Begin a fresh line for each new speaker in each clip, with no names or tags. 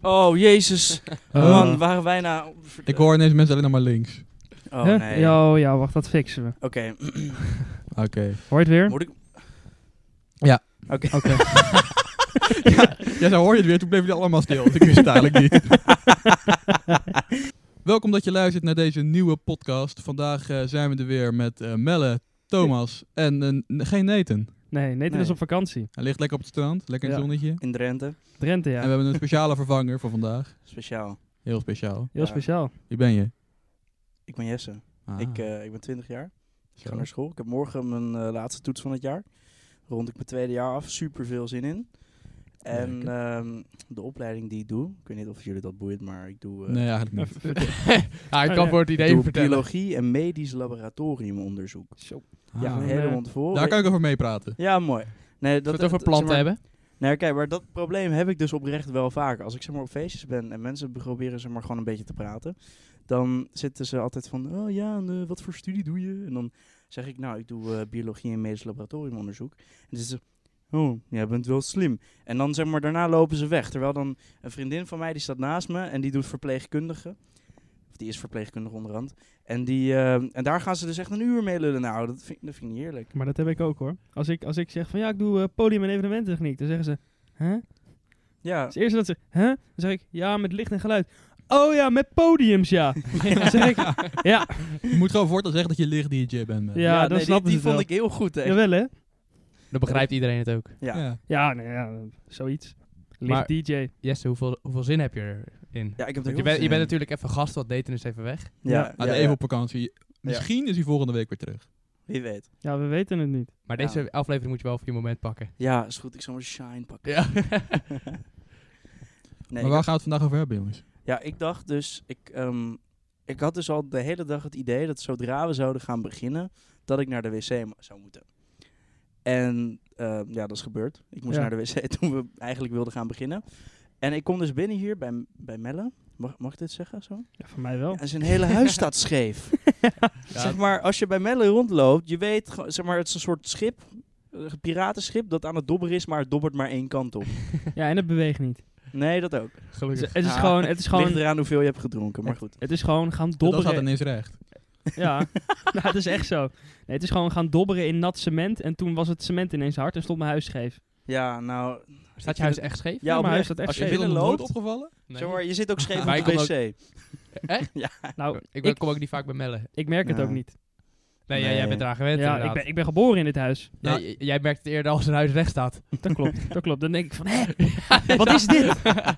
Oh, jezus.
Eh.
Oh.
Man, waren wij nou...
Ik hoor ineens mensen alleen nog maar links.
Oh,
Hè?
nee. Oké.
Ja, oh ja, wacht, dat fixen we.
Oké.
Hoor je het weer?
Moet ik...
Ja.
Oké.
Oké.
Ja, zo hoor je het weer. Toen bleven jullie allemaal stil. want Ik wist het eigenlijk niet. Welkom dat je luistert naar deze nieuwe podcast. Vandaag eh, zijn we er weer met eh, Melle, Thomas en eh, n- geen Nathan.
Nee, Nathan is
Nee.
op vakantie.
Hij ligt lekker op het strand, lekker in het
Ja.
zonnetje.
In Drenthe.
Drenthe,
En
ja.
we hebben een speciale vervanger voor vandaag.
Speciaal.
Heel speciaal.
Heel
Ja.
speciaal.
Wie ben je?
Ik ben Jesse.
Ah,
Ik, eh, ik ben 20 jaar. Ik
zo.
ga naar school. Ik heb morgen mijn eh, laatste toets van het jaar. Rond ik mijn tweede jaar af. Super veel zin in. En
Lekker.
ehm, de opleiding die ik doe, ik weet niet of jullie dat boeit, maar ik doe, eh,
Nee, eigenlijk niet.
hij
Oh,
Nou, kan
ja.
voor het
ik
idee
doe
vertellen.
biologie en medisch laboratoriumonderzoek.
Zo.
Ja,
Ah.
een hele
Eh,
mond vol.
Daar kan ik over meepraten.
Ja, mooi. Nee,
Dat
dat
we het over
dat- zeg
planten
maar-
hebben.
Nee, Nou, kijk, maar dat probleem heb ik dus oprecht wel vaak. Als ik zeg maar op feestjes ben en mensen proberen zeg maar gewoon een beetje te praten, dan zitten ze altijd van, oh ja, en, eh, wat voor studie doe je? En dan zeg ik, nou, ik doe eh, biologie en medisch laboratoriumonderzoek. En dan zitten ze, oh, jij bent wel slim. En dan zeg maar, daarna lopen ze weg. Terwijl dan een vriendin van mij, die staat naast me en die doet verpleegkundige. Of die is verpleegkundige onderhand. En, die, eh, en daar gaan ze dus echt een uur mee lullen. Nou, dat vind, dat vind ik niet eerlijk.
Maar dat heb ik ook hoor. Als ik, als ik zeg van ja, ik doe eh, podium- en evenemententechniek, dan zeggen ze, hè?
Ja,
Het eerste dat ze, hè? Dan zeg ik, ja, met licht en geluid. Oh ja, met podiums, ja. Dan zeg ik, ja,
Je moet gewoon voortaan zeggen dat je licht DJ bent. Melle.
Ja, dan
nee, die-
snappen
die,
ze
vond
het wel.
ik heel goed. Hè.
jawel hè?
Dan begrijpt iedereen het ook.
ja.
Ja, nee, ja, zoiets. Licht
Maar-
DJ.
Jesse, hoeveel, hoeveel zin heb je erin?
Ja, ik heb er
Want je,
heel
bent,
veel
je
zin
bent
in.
natuurlijk even gast, want Dayton is dus even weg.
Ja,
Hij
ja,
is
ja.
even op vakantie. Misschien is hij volgende week weer terug.
Wie weet.
Ja, we weten het niet.
Maar
Ja.
deze aflevering moet je wel op je moment pakken.
Ja, is goed. Ik zal mijn shine pakken.
Ja.
nee,
maar
ik
waar
dacht-
gaan we het vandaag over hebben, jongens?
ja, ik dacht dus... Ik, ehm, ik had dus al de hele dag het idee dat zodra we zouden gaan beginnen... dat ik naar de wc mo- zou moeten. En ehm, ja, dat is gebeurd. Ik moest
Ja.
naar de wc toen we eigenlijk wilden gaan beginnen. En ik kom dus binnen hier bij, M- bij Melle. Mag, mag ik dit zeggen zo?
Ja, voor mij wel.
En zijn hele huis staat scheef. Zeg maar, als je bij Melle rondloopt, je weet, gewoon- zeg maar, het is een soort schip, een piratenschip dat aan het dobberen is, maar het dobbert maar één kant op.
Ja, en het beweegt niet.
Nee, dat ook.
Het is,
Gelukkig.
het is
Ah,
gewoon, het is
Ligt
gewoon,
eraan hoeveel je hebt gedronken, maar goed.
het is gewoon gaan
Dat
dobberen.
gaat ineens recht.
Ja, nou, het is echt zo. Nee, het is gewoon gaan dobberen in nat cement. En toen was het cement ineens hard en stond mijn huis scheef.
Ja, nou...
Staat je huis echt scheef?
Ja, mijn huis staat echt
Als je
scheef.
Nooit
binnenloopt,
opgevallen?
Nee.
zeg maar, je zit ook scheef op
Maar
de
ik kom ook-
wc.
Echt?
Nou,
Ik, ben-
ik-
kom ook niet vaak bij Mellen.
ik merk het
Nou,
ook niet.
Nee, jij-
Nee.
jij bent eraan gewend
Ja, ik
inderdaad.
ben, ik ben geboren in dit huis.
Jij- jij- jij merkt het eerder als een huis recht staat.
Dat klopt, dat klopt. Dan denk ik van, hè, wat is dit? Nou,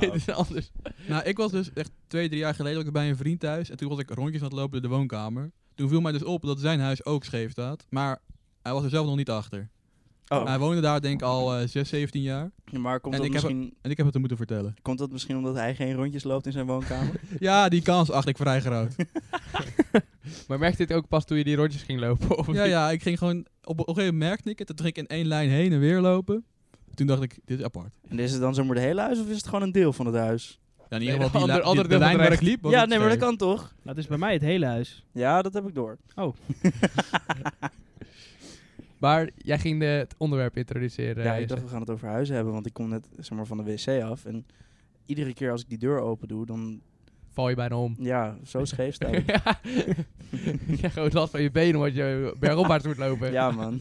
Dit is anders.
Nou, ik was dus echt twee, drie jaar geleden ook bij een vriend thuis. En toen was ik rondjes aan het lopen door de woonkamer. Toen viel mij dus op dat zijn huis ook scheef staat. Maar hij was er zelf nog niet achter.
Oh,
Hij woonde daar denk ik al eh 6, 17 jaar.
maar komt
En
dat,
ik heb
misschien,
En ik heb het hem moeten vertellen.
komt dat misschien omdat hij geen rondjes loopt in zijn woonkamer?
Ja, die kans acht ik vrij groot.
Maar merkte dit ook pas toen je die rondjes ging lopen? Of
ja, ja, ik ging gewoon... Op, op een gegeven moment merkte ik het. Toen ging ik in één lijn heen en weer lopen. Toen dacht ik, dit is apart.
en is het dan zomaar de hele huis of is het gewoon een deel van het huis?
Ja, in ieder geval die,
Ander-
lijn-
ander
die- de
deel van
lijn
het
waar ik
recht.
liep was
ja,
het
nee, maar dat
scheef.
kan toch?
Dat is bij mij het hele huis.
Ja, dat heb ik door.
Maar jij ging de, het onderwerp introduceren.
Ja,
eh,
ik dacht, we gaan het over huizen hebben, want ik kom net zeg maar, van de wc af. En iedere keer als ik die deur open doe, dan,
Val je bijna om.
ja, zo scheef staat het.
ja. Ik krijg gewoon last van je benen omdat je bergopwaarts moet lopen.
Ja, man.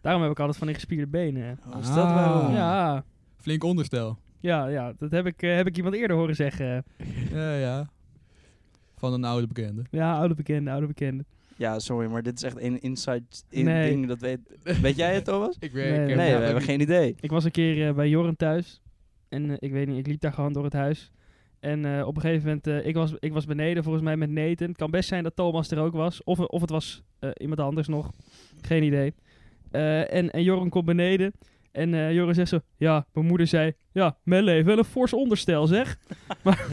Daarom heb ik altijd van die gespierde benen.
Hoe is dat
Ah.
waarom?
Ja,
Flink onderstel.
ja, ja. Dat heb ik, eh, heb ik iemand eerder horen zeggen.
Ja, ja. Van een oude bekende.
Ja, oude bekende, oude bekende.
Ja, sorry, maar dit is echt een inside in
Nee.
ding. Dat weet, weet jij het, Thomas?
Ik
Nee,
weet,
nee,
ik heb-
Nee,
ja,
we hebben geen idee.
Ik was een keer eh, bij Joren thuis. En eh, ik weet niet, ik liep daar gewoon door het huis. En eh, op een gegeven moment, eh, ik, was, ik was beneden volgens mij met Nathan. Het kan best zijn dat Thomas er ook was. Of, of het was eh, iemand anders nog. Geen idee. Eh, en, en Joren komt beneden. En eh Joren zegt zo, ja, mijn moeder zei, ja, Melle heeft wel een fors onderstel, zeg. maar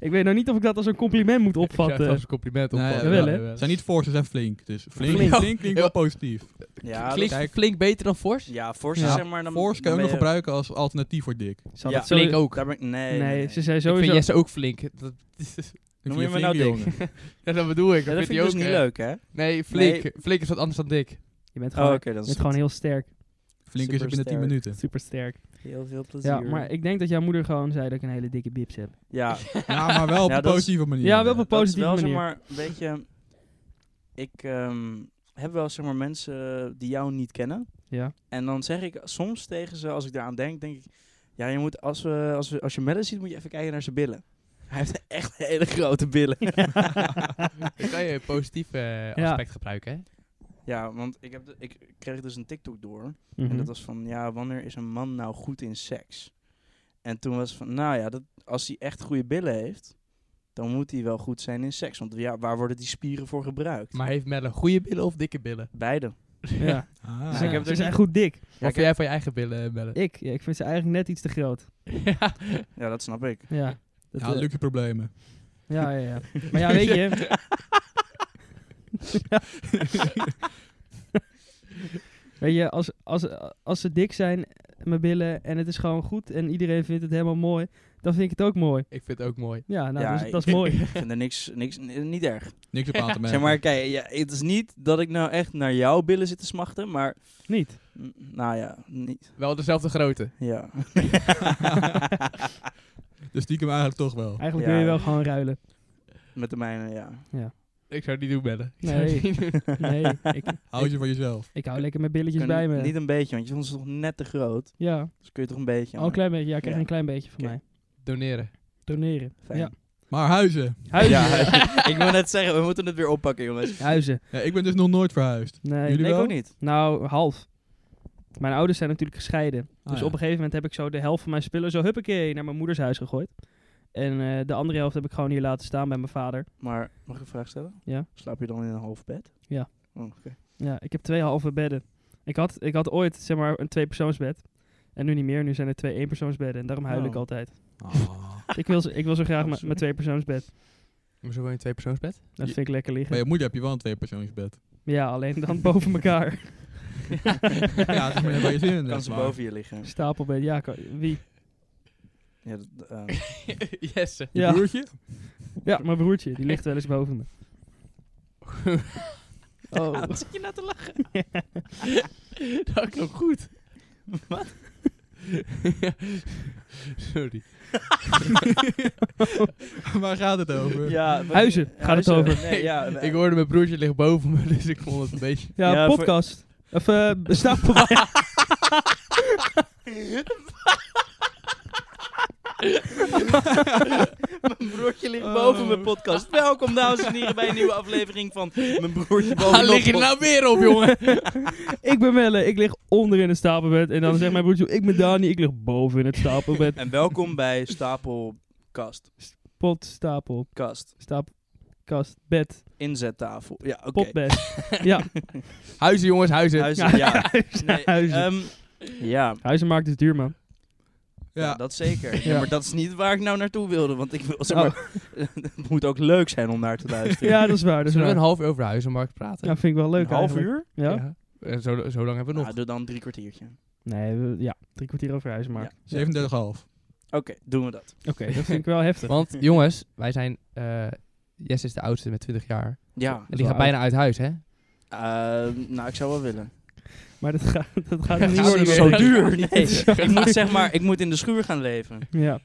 ik weet nou niet of ik dat als een compliment moet
Ik zou het
opvatten.
als een compliment
Nee,
opvatten.
jawel,
ja,
hè?
ja, Ze zijn niet fors, ze zijn flink. Dus flink,
Flink.
flink, klinkt wel positief.
Ja,
Klinkt
dat-
kijk.
flink beter dan fors?
ja fors
Ja,
is zeg maar... Dan,
Fors kan
dan
je ook nog
ben je-
gebruiken als alternatief voor dik.
Ze had
Ja,
het zo-
Flink ook.
Daar ben ik- nee,
Nee,
nee, nee.
ze zei
Ik
sowieso...
vind Jesse ook flink. Dat,
Noem
vind
je me nou
flinke
dik?
jongen.
ja, dat bedoel ik.
Ja, dat vind
hij
ik dus
ook,
niet
hè.
leuk, hè?
Nee, flink. Flink is wat anders dan dik.
Je bent
Oh,
gewoon,
oké,
je
dat is
bent gewoon heel sterk.
Flink is er binnen 10
Supersterk.
minuten.
Super sterk.
Heel veel plezier.
Ja, maar ik denk dat jouw moeder gewoon zei dat ik een hele dikke bips heb.
Ja,
Ja, maar wel op
Ja,
een
dat is-
positieve manier.
Ja, wel op een
dat is
positieve
wel, zeg
manier.
maar, een beetje... Ik ehm, heb wel, zeg maar, mensen die jou niet kennen.
Ja.
En dan zeg ik soms tegen ze, als ik daaraan denk, denk ik... Ja, je moet, als, we, als, we, als je Madden ziet, moet je even kijken naar zijn billen. Hij heeft echt hele grote billen.
Dan kan je een positief eh,
Ja.
aspect gebruiken, hè?
ja, want ik, heb de- ik kreeg dus een TikTok door.
Mhm.
En dat was van, ja, wanneer is een man nou goed in seks? En toen was van, nou ja, dat, als hij echt goede billen heeft, dan moet hij wel goed zijn in seks. Want ja, waar worden die spieren voor gebruikt?
Maar heeft Melle goede billen of dikke billen?
Beide.
Ja.
Ah.
Dus ik heb
ze
er
zijn
niet-
goed dik.
Wat vind jij van je eigen billen, eh, Melle?
Ik, ja, ik vind ze eigenlijk net iets te groot.
ja.
Ja, dat snap ik.
Ja. Dat,
ja,
eh,
Luc, je problemen.
ja, ja, ja. Maar ja, weet je. weet je, als, als, als ze dik zijn, mijn billen, en het is gewoon goed en iedereen vindt het helemaal mooi, dan vind ik het ook mooi.
Ik vind het ook mooi.
Ja, nou,
Ja,
dat, is, dat is
ik-
mooi.
Ik vind er niks, niks n- niet erg.
Niks op aan te merken.
Zeg maar, kijk, ja, het is niet dat ik nou echt naar jouw billen zit te smachten, maar
Niet.
mm, nou ja, niet.
Wel dezelfde grootte.
Ja.
Dus stiekem eigenlijk toch wel.
Eigenlijk
Ja.
wil je wel gewoon ruilen.
Met de mijne, ja.
Ik zou het niet doen, Melle. Ik zou
Nee.
het niet doen.
Nee, ik,
Houd je van jezelf.
ik hou lekker mijn billetjes
Kun-
bij me.
Niet een beetje, want je vond ze toch net te groot.
Ja,
Dus kun je toch een beetje.
al een klein beetje. Ja, ik krijg
Ja.
een klein beetje van
Oké.
mij.
Doneren.
Doneren.
Fijn.
Ja.
Maar huizen.
Huizen.
Ja,
Ja.
ik wil net zeggen, we moeten het weer oppakken, jongens.
Huizen.
Ja, ik ben dus nog nooit verhuisd.
Nee,
Jullie
Nee, ik
wel?
ook niet.
Nou, half. Mijn ouders zijn natuurlijk
Oh,
gescheiden.
Ah,
dus
ja.
op een gegeven moment heb ik zo de helft van mijn spullen zo huppakee naar mijn moeders huis gegooid. En eh, de andere helft heb ik gewoon hier laten staan bij mijn vader.
Maar mag ik een vraag stellen?
Ja.
Slaap je dan in een half bed?
Ja.
Oh, oké.
Ja, ik heb twee halve bedden. Ik had, ik had ooit zeg maar een tweepersoonsbed. En nu niet meer. Nu zijn er twee eenpersoonsbedden. En daarom huil
Oh.
ik altijd.
Ah.
Ik wil, zo- ik wil zo graag
Oh,
mijn
sorry.
mijn tweepersoonsbed.
Maar zo woon je in een tweepersoonsbed?
Dat vind ik lekker
Bij
liggen.
je moeder heb je wel een tweepersoonsbed.
Ja, alleen dan boven elkaar.
ja, dat is maar net waar je zin in
Kan
hebt,
ze
maar-
boven je liggen?
Stapelbed. Ja, kan- wie?
Ja, dat, eh,
yes.
Je
Ja.
broertje?
Ja, mijn broertje. Die ligt wel eens boven me. Oh,
zit je nou te lachen? dat klopt goed. Wat? Sorry.
Waar gaat het over?
ja, wat-
Huizen, gaat het over.
Nee, ja,
ik hoorde mijn broertje ligt boven me, dus ik vond het een beetje...
Ja,
Ja, voor-
podcast. Of eh stapelbed.
Mijn broertje ligt boven
Oh.
mijn podcast. Welkom, dames en heren, bij een nieuwe aflevering van Mijn broertje boven
Waar
mijn
lig je
podcast.
nou weer op, jongen?
ik ben Melle, ik lig onder in het stapelbed. En dan zegt mijn broertje, ik ben Dani, ik lig boven in het stapelbed.
En welkom bij Stapelkast.
Pot, stapel,
Kast.
stap, kast, bed,
Inzettafel. Ja, oké.
potbed. Ja,
Huizen, jongens, huizen.
Huizen, ja. Nee,
Huizen.
ehm, ja.
huizenmarkt is duur, man.
Ja,
Ja,
dat zeker.
Ja. Oh.
Ja, maar dat is niet waar ik nou naartoe wilde. Want ik wil, zeg maar, het moet ook leuk zijn om naar te luisteren.
Ja, dat is waar. Dat is
Zullen we
waar.
een half uur over de huizenmarkt praten?
Ja, vind ik wel leuk
Een half
eigenlijk.
uur?
Ja?
Eh, Zo, zo lang hebben we
Nou,
nog.
doe dan drie kwartiertje.
Nee, we- ja, drie kwartier over huizenmarkt. Ja.
37,5.
Oké, doen we dat.
Oké, dat vind ik wel heftig.
Want jongens, wij zijn... eh Jess is de oudste met 20 jaar.
Ja.
En
wel
die gaat
oud.
bijna uit huis, hè?
Eh, nou, ik zou wel willen.
Maar dat gaat, dat gaat niet
Ja,
worden.
zie
zo
je.
man.
duur. Nee. ik moet zeg maar, ik moet in de schuur gaan leven.
Ja.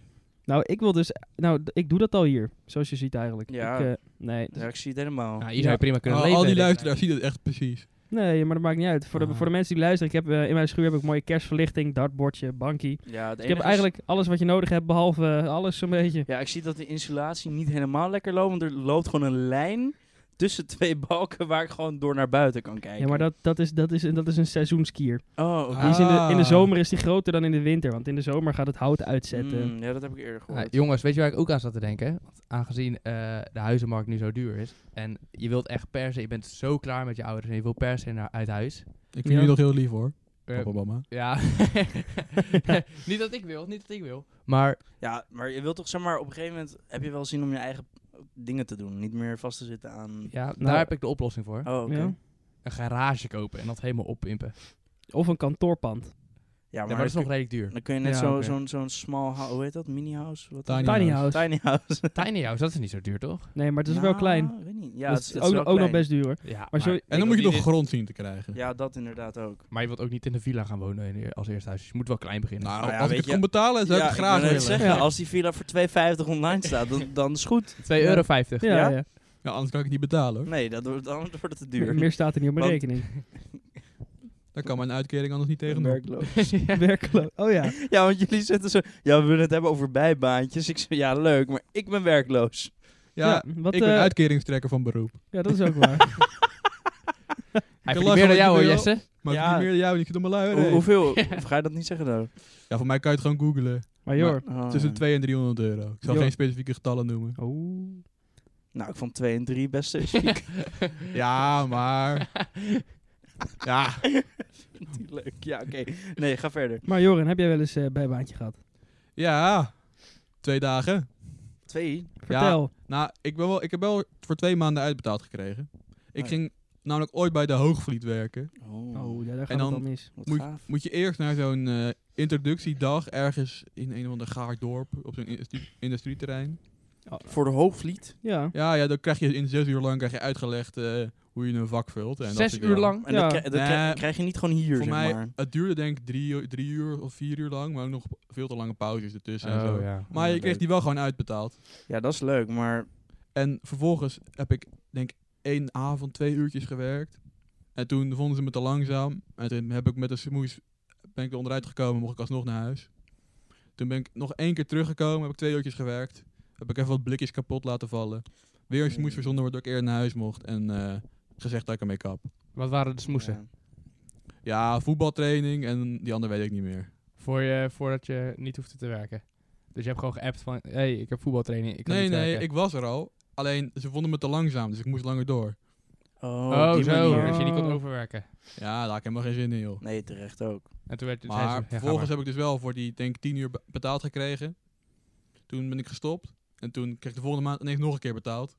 Nou, ik wil dus... Nou, d- ik doe dat al hier. Zoals je ziet eigenlijk.
Ja.
Ik, eh, nee,
Ja, ik zie het helemaal.
Nou, hier
Ja.
zou je prima kunnen
Al-
leven.
al die
denk ik.
luisteraars zien het echt precies.
Nee, maar dat maakt niet uit. Voor de,
Ah.
voor de mensen die luisteren, ik heb, eh, in mijn schuur heb ik mooie kerstverlichting, dartbordje, bankie. Dus
Ja, het
ik heb
enige is-
eigenlijk alles wat je nodig hebt, behalve eh, alles zo'n beetje.
Ja, ik zie dat de installatie niet helemaal lekker loopt. Want er loopt gewoon een lijn tussen twee balken waar ik gewoon door naar buiten kan kijken.
Ja, maar dat, dat, is, dat, is, dat is een seizoenskier.
Oh, oké.
Die is in, de, in de
Ah.
zomer is die groter dan in de winter, want in de zomer gaat het hout uitzetten.
Mm, ja, dat heb ik eerder
Nou,
gehoord.
jongens, weet je waar ik ook aan zat te denken? Want aangezien eh, de huizenmarkt nu zo duur is en je wilt echt per se, je bent zo klaar met je ouders en je wilt per se naar, uit huis.
Ik vind
Ja.
jullie dat heel lief hoor.
Eh,
Papa, mama.
ja, niet dat ik wil, niet dat ik wil. Maar
Ja, maar je wilt toch zeg maar op een gegeven moment heb je wel zin om je eigen dingen te doen, niet meer vast te zitten aan.
ja, nou- daar heb ik de oplossing voor.
Oh, oké.
Ja.
Een garage kopen en dat helemaal oppimpen.
Of een kantoorpand.
Ja, maar,
maar dat is
dan,
nog
kun,
redelijk duur.
dan kun je net
Ja,
zo,
oké.
zo'n, zo'n small house, hoe heet dat? Mini house? Wat
Tiny
Tiny
house.
house.
Tiny house.
Tiny house, dat is niet zo duur, toch?
Nee, maar het is wel
Nou,
klein.
ik weet niet. Ja,
Dat
het,
is
is- het is
Dus ook,
wel
ook nog
klein.
best duur.
Ja,
maar zo-
En dan moet je nog grond zien te krijgen.
Ja, dat inderdaad ook.
Maar je wilt ook niet in een villa gaan wonen in- als eerste huis. Dus je moet wel klein beginnen.
Nou,
Nou ja,
als ik
weet
het
je-
kon betalen, zou ik het graag
wil
willen.
net zeggen,
Ja.
als die villa voor 2,50 online staat, dan, dan is goed.
2,50 euro. vijftig.
Ja, ja.
Ja?
Ja, anders kan ik het niet betalen hoor.
Nee, dat, wordt- dan wordt het te
Meer-
duur.
Meer staat er niet op mijn
Want-
rekening.
Daar kan mijn uitkering anders niet tegen. doen.
Werkloos.
Werkloos. Oh ja.
Ja, want jullie zitten zo... Ja, we willen het hebben over bijbaantjes. Ik zei, ja, leuk, maar ik ben werkloos.
Ja,
wat,
ik ben
eh,
uitkeringstrekker van beroep.
ja, dat is ook waar.
Hij
kan
verdient meer
lachen
dan
wat
jou hoor,
je wil.
Jesse.
Maar
Ja.
ik verdien meer dan jou en ik zit op mijn lui.
Hoe-
hè?
hoeveel? Of ga je dat niet zeggen dan?
Ja, voor mij kan je het gewoon googlen.
Maar joh.
Oh.
Tussen 200 en 300 euro. Ik zal
Ja.
geen specifieke getallen noemen.
Oeh.
Nou, ik vond 2 en 3 best specifiek.
Ja, maar... ja,
Leuk, ja, oké. Nee, ga verder.
Maar Joren, heb jij wel eens eh bijbaantje gehad?
ja. Twee dagen.
Twee?
Vertel.
Nou, ik, ben wel, ik heb wel voor twee maanden uitbetaald gekregen. Ik
Oh.
ging namelijk ooit bij de Hoogvliet werken.
Oh, ja, daar gaat
En dan-
het al mis.
wat
moet-
gaaf.
Moet je eerst naar zo'n eh, introductiedag ergens in een of ander gaar dorp op zo'n industrie- industrieterrein.
Voor de hoofdvliet.
Ja.
Ja, ja, dan krijg je in zes uur lang krijg je uitgelegd eh, hoe je een vak vult. En dat
Zes
soort
uur
dingen.
lang.
En
Ja.
dat, kri- dat kri-
Nee.
krijg je niet gewoon hier,
Voor
zeg
mij,
maar.
het duurde denk ik drie, drie uur of vier uur lang, maar ook nog veel te lange pauzes ertussen en zo.
Oh, ja.
Maar
Ja,
je kreeg
leuk.
die wel gewoon uitbetaald.
Ja, dat is leuk, maar...
En vervolgens heb ik, denk ik, één avond, twee uurtjes gewerkt. En toen vonden ze me te langzaam. En toen heb ik met een smoes, ben ik er onderuit gekomen, mocht ik alsnog naar huis. Toen ben ik nog één keer teruggekomen, heb ik twee uurtjes gewerkt. Heb ik even wat blikjes kapot laten vallen. Weer een smoes verzonnen waardoor ik eerder naar huis mocht. En eh, gezegd dat ik ermee kap.
Wat waren de smoesen?
ja.
Ja, voetbaltraining en die andere weet ik niet meer.
Voor je, voordat je niet hoefde te werken. Dus je hebt gewoon geappt van, hé, hey, ik heb voetbaltraining, ik kan
nee,
niet
nee,
werken.
ik was er al. Alleen, ze vonden me te langzaam, dus ik moest langer door.
Oh,
Oh,
op die
zo,
manier.
dat je niet kon
Oh.
overwerken.
Ja, daar heb ik helemaal geen zin in, joh.
Nee, terecht ook.
En toen werd zei ze,
Maar
ja, ga
vervolgens
maar.
heb ik dus wel voor die, denk ik, 10 uur be- betaald gekregen. Toen ben ik gestopt. En toen kreeg ik de volgende maand ineens nog een keer betaald.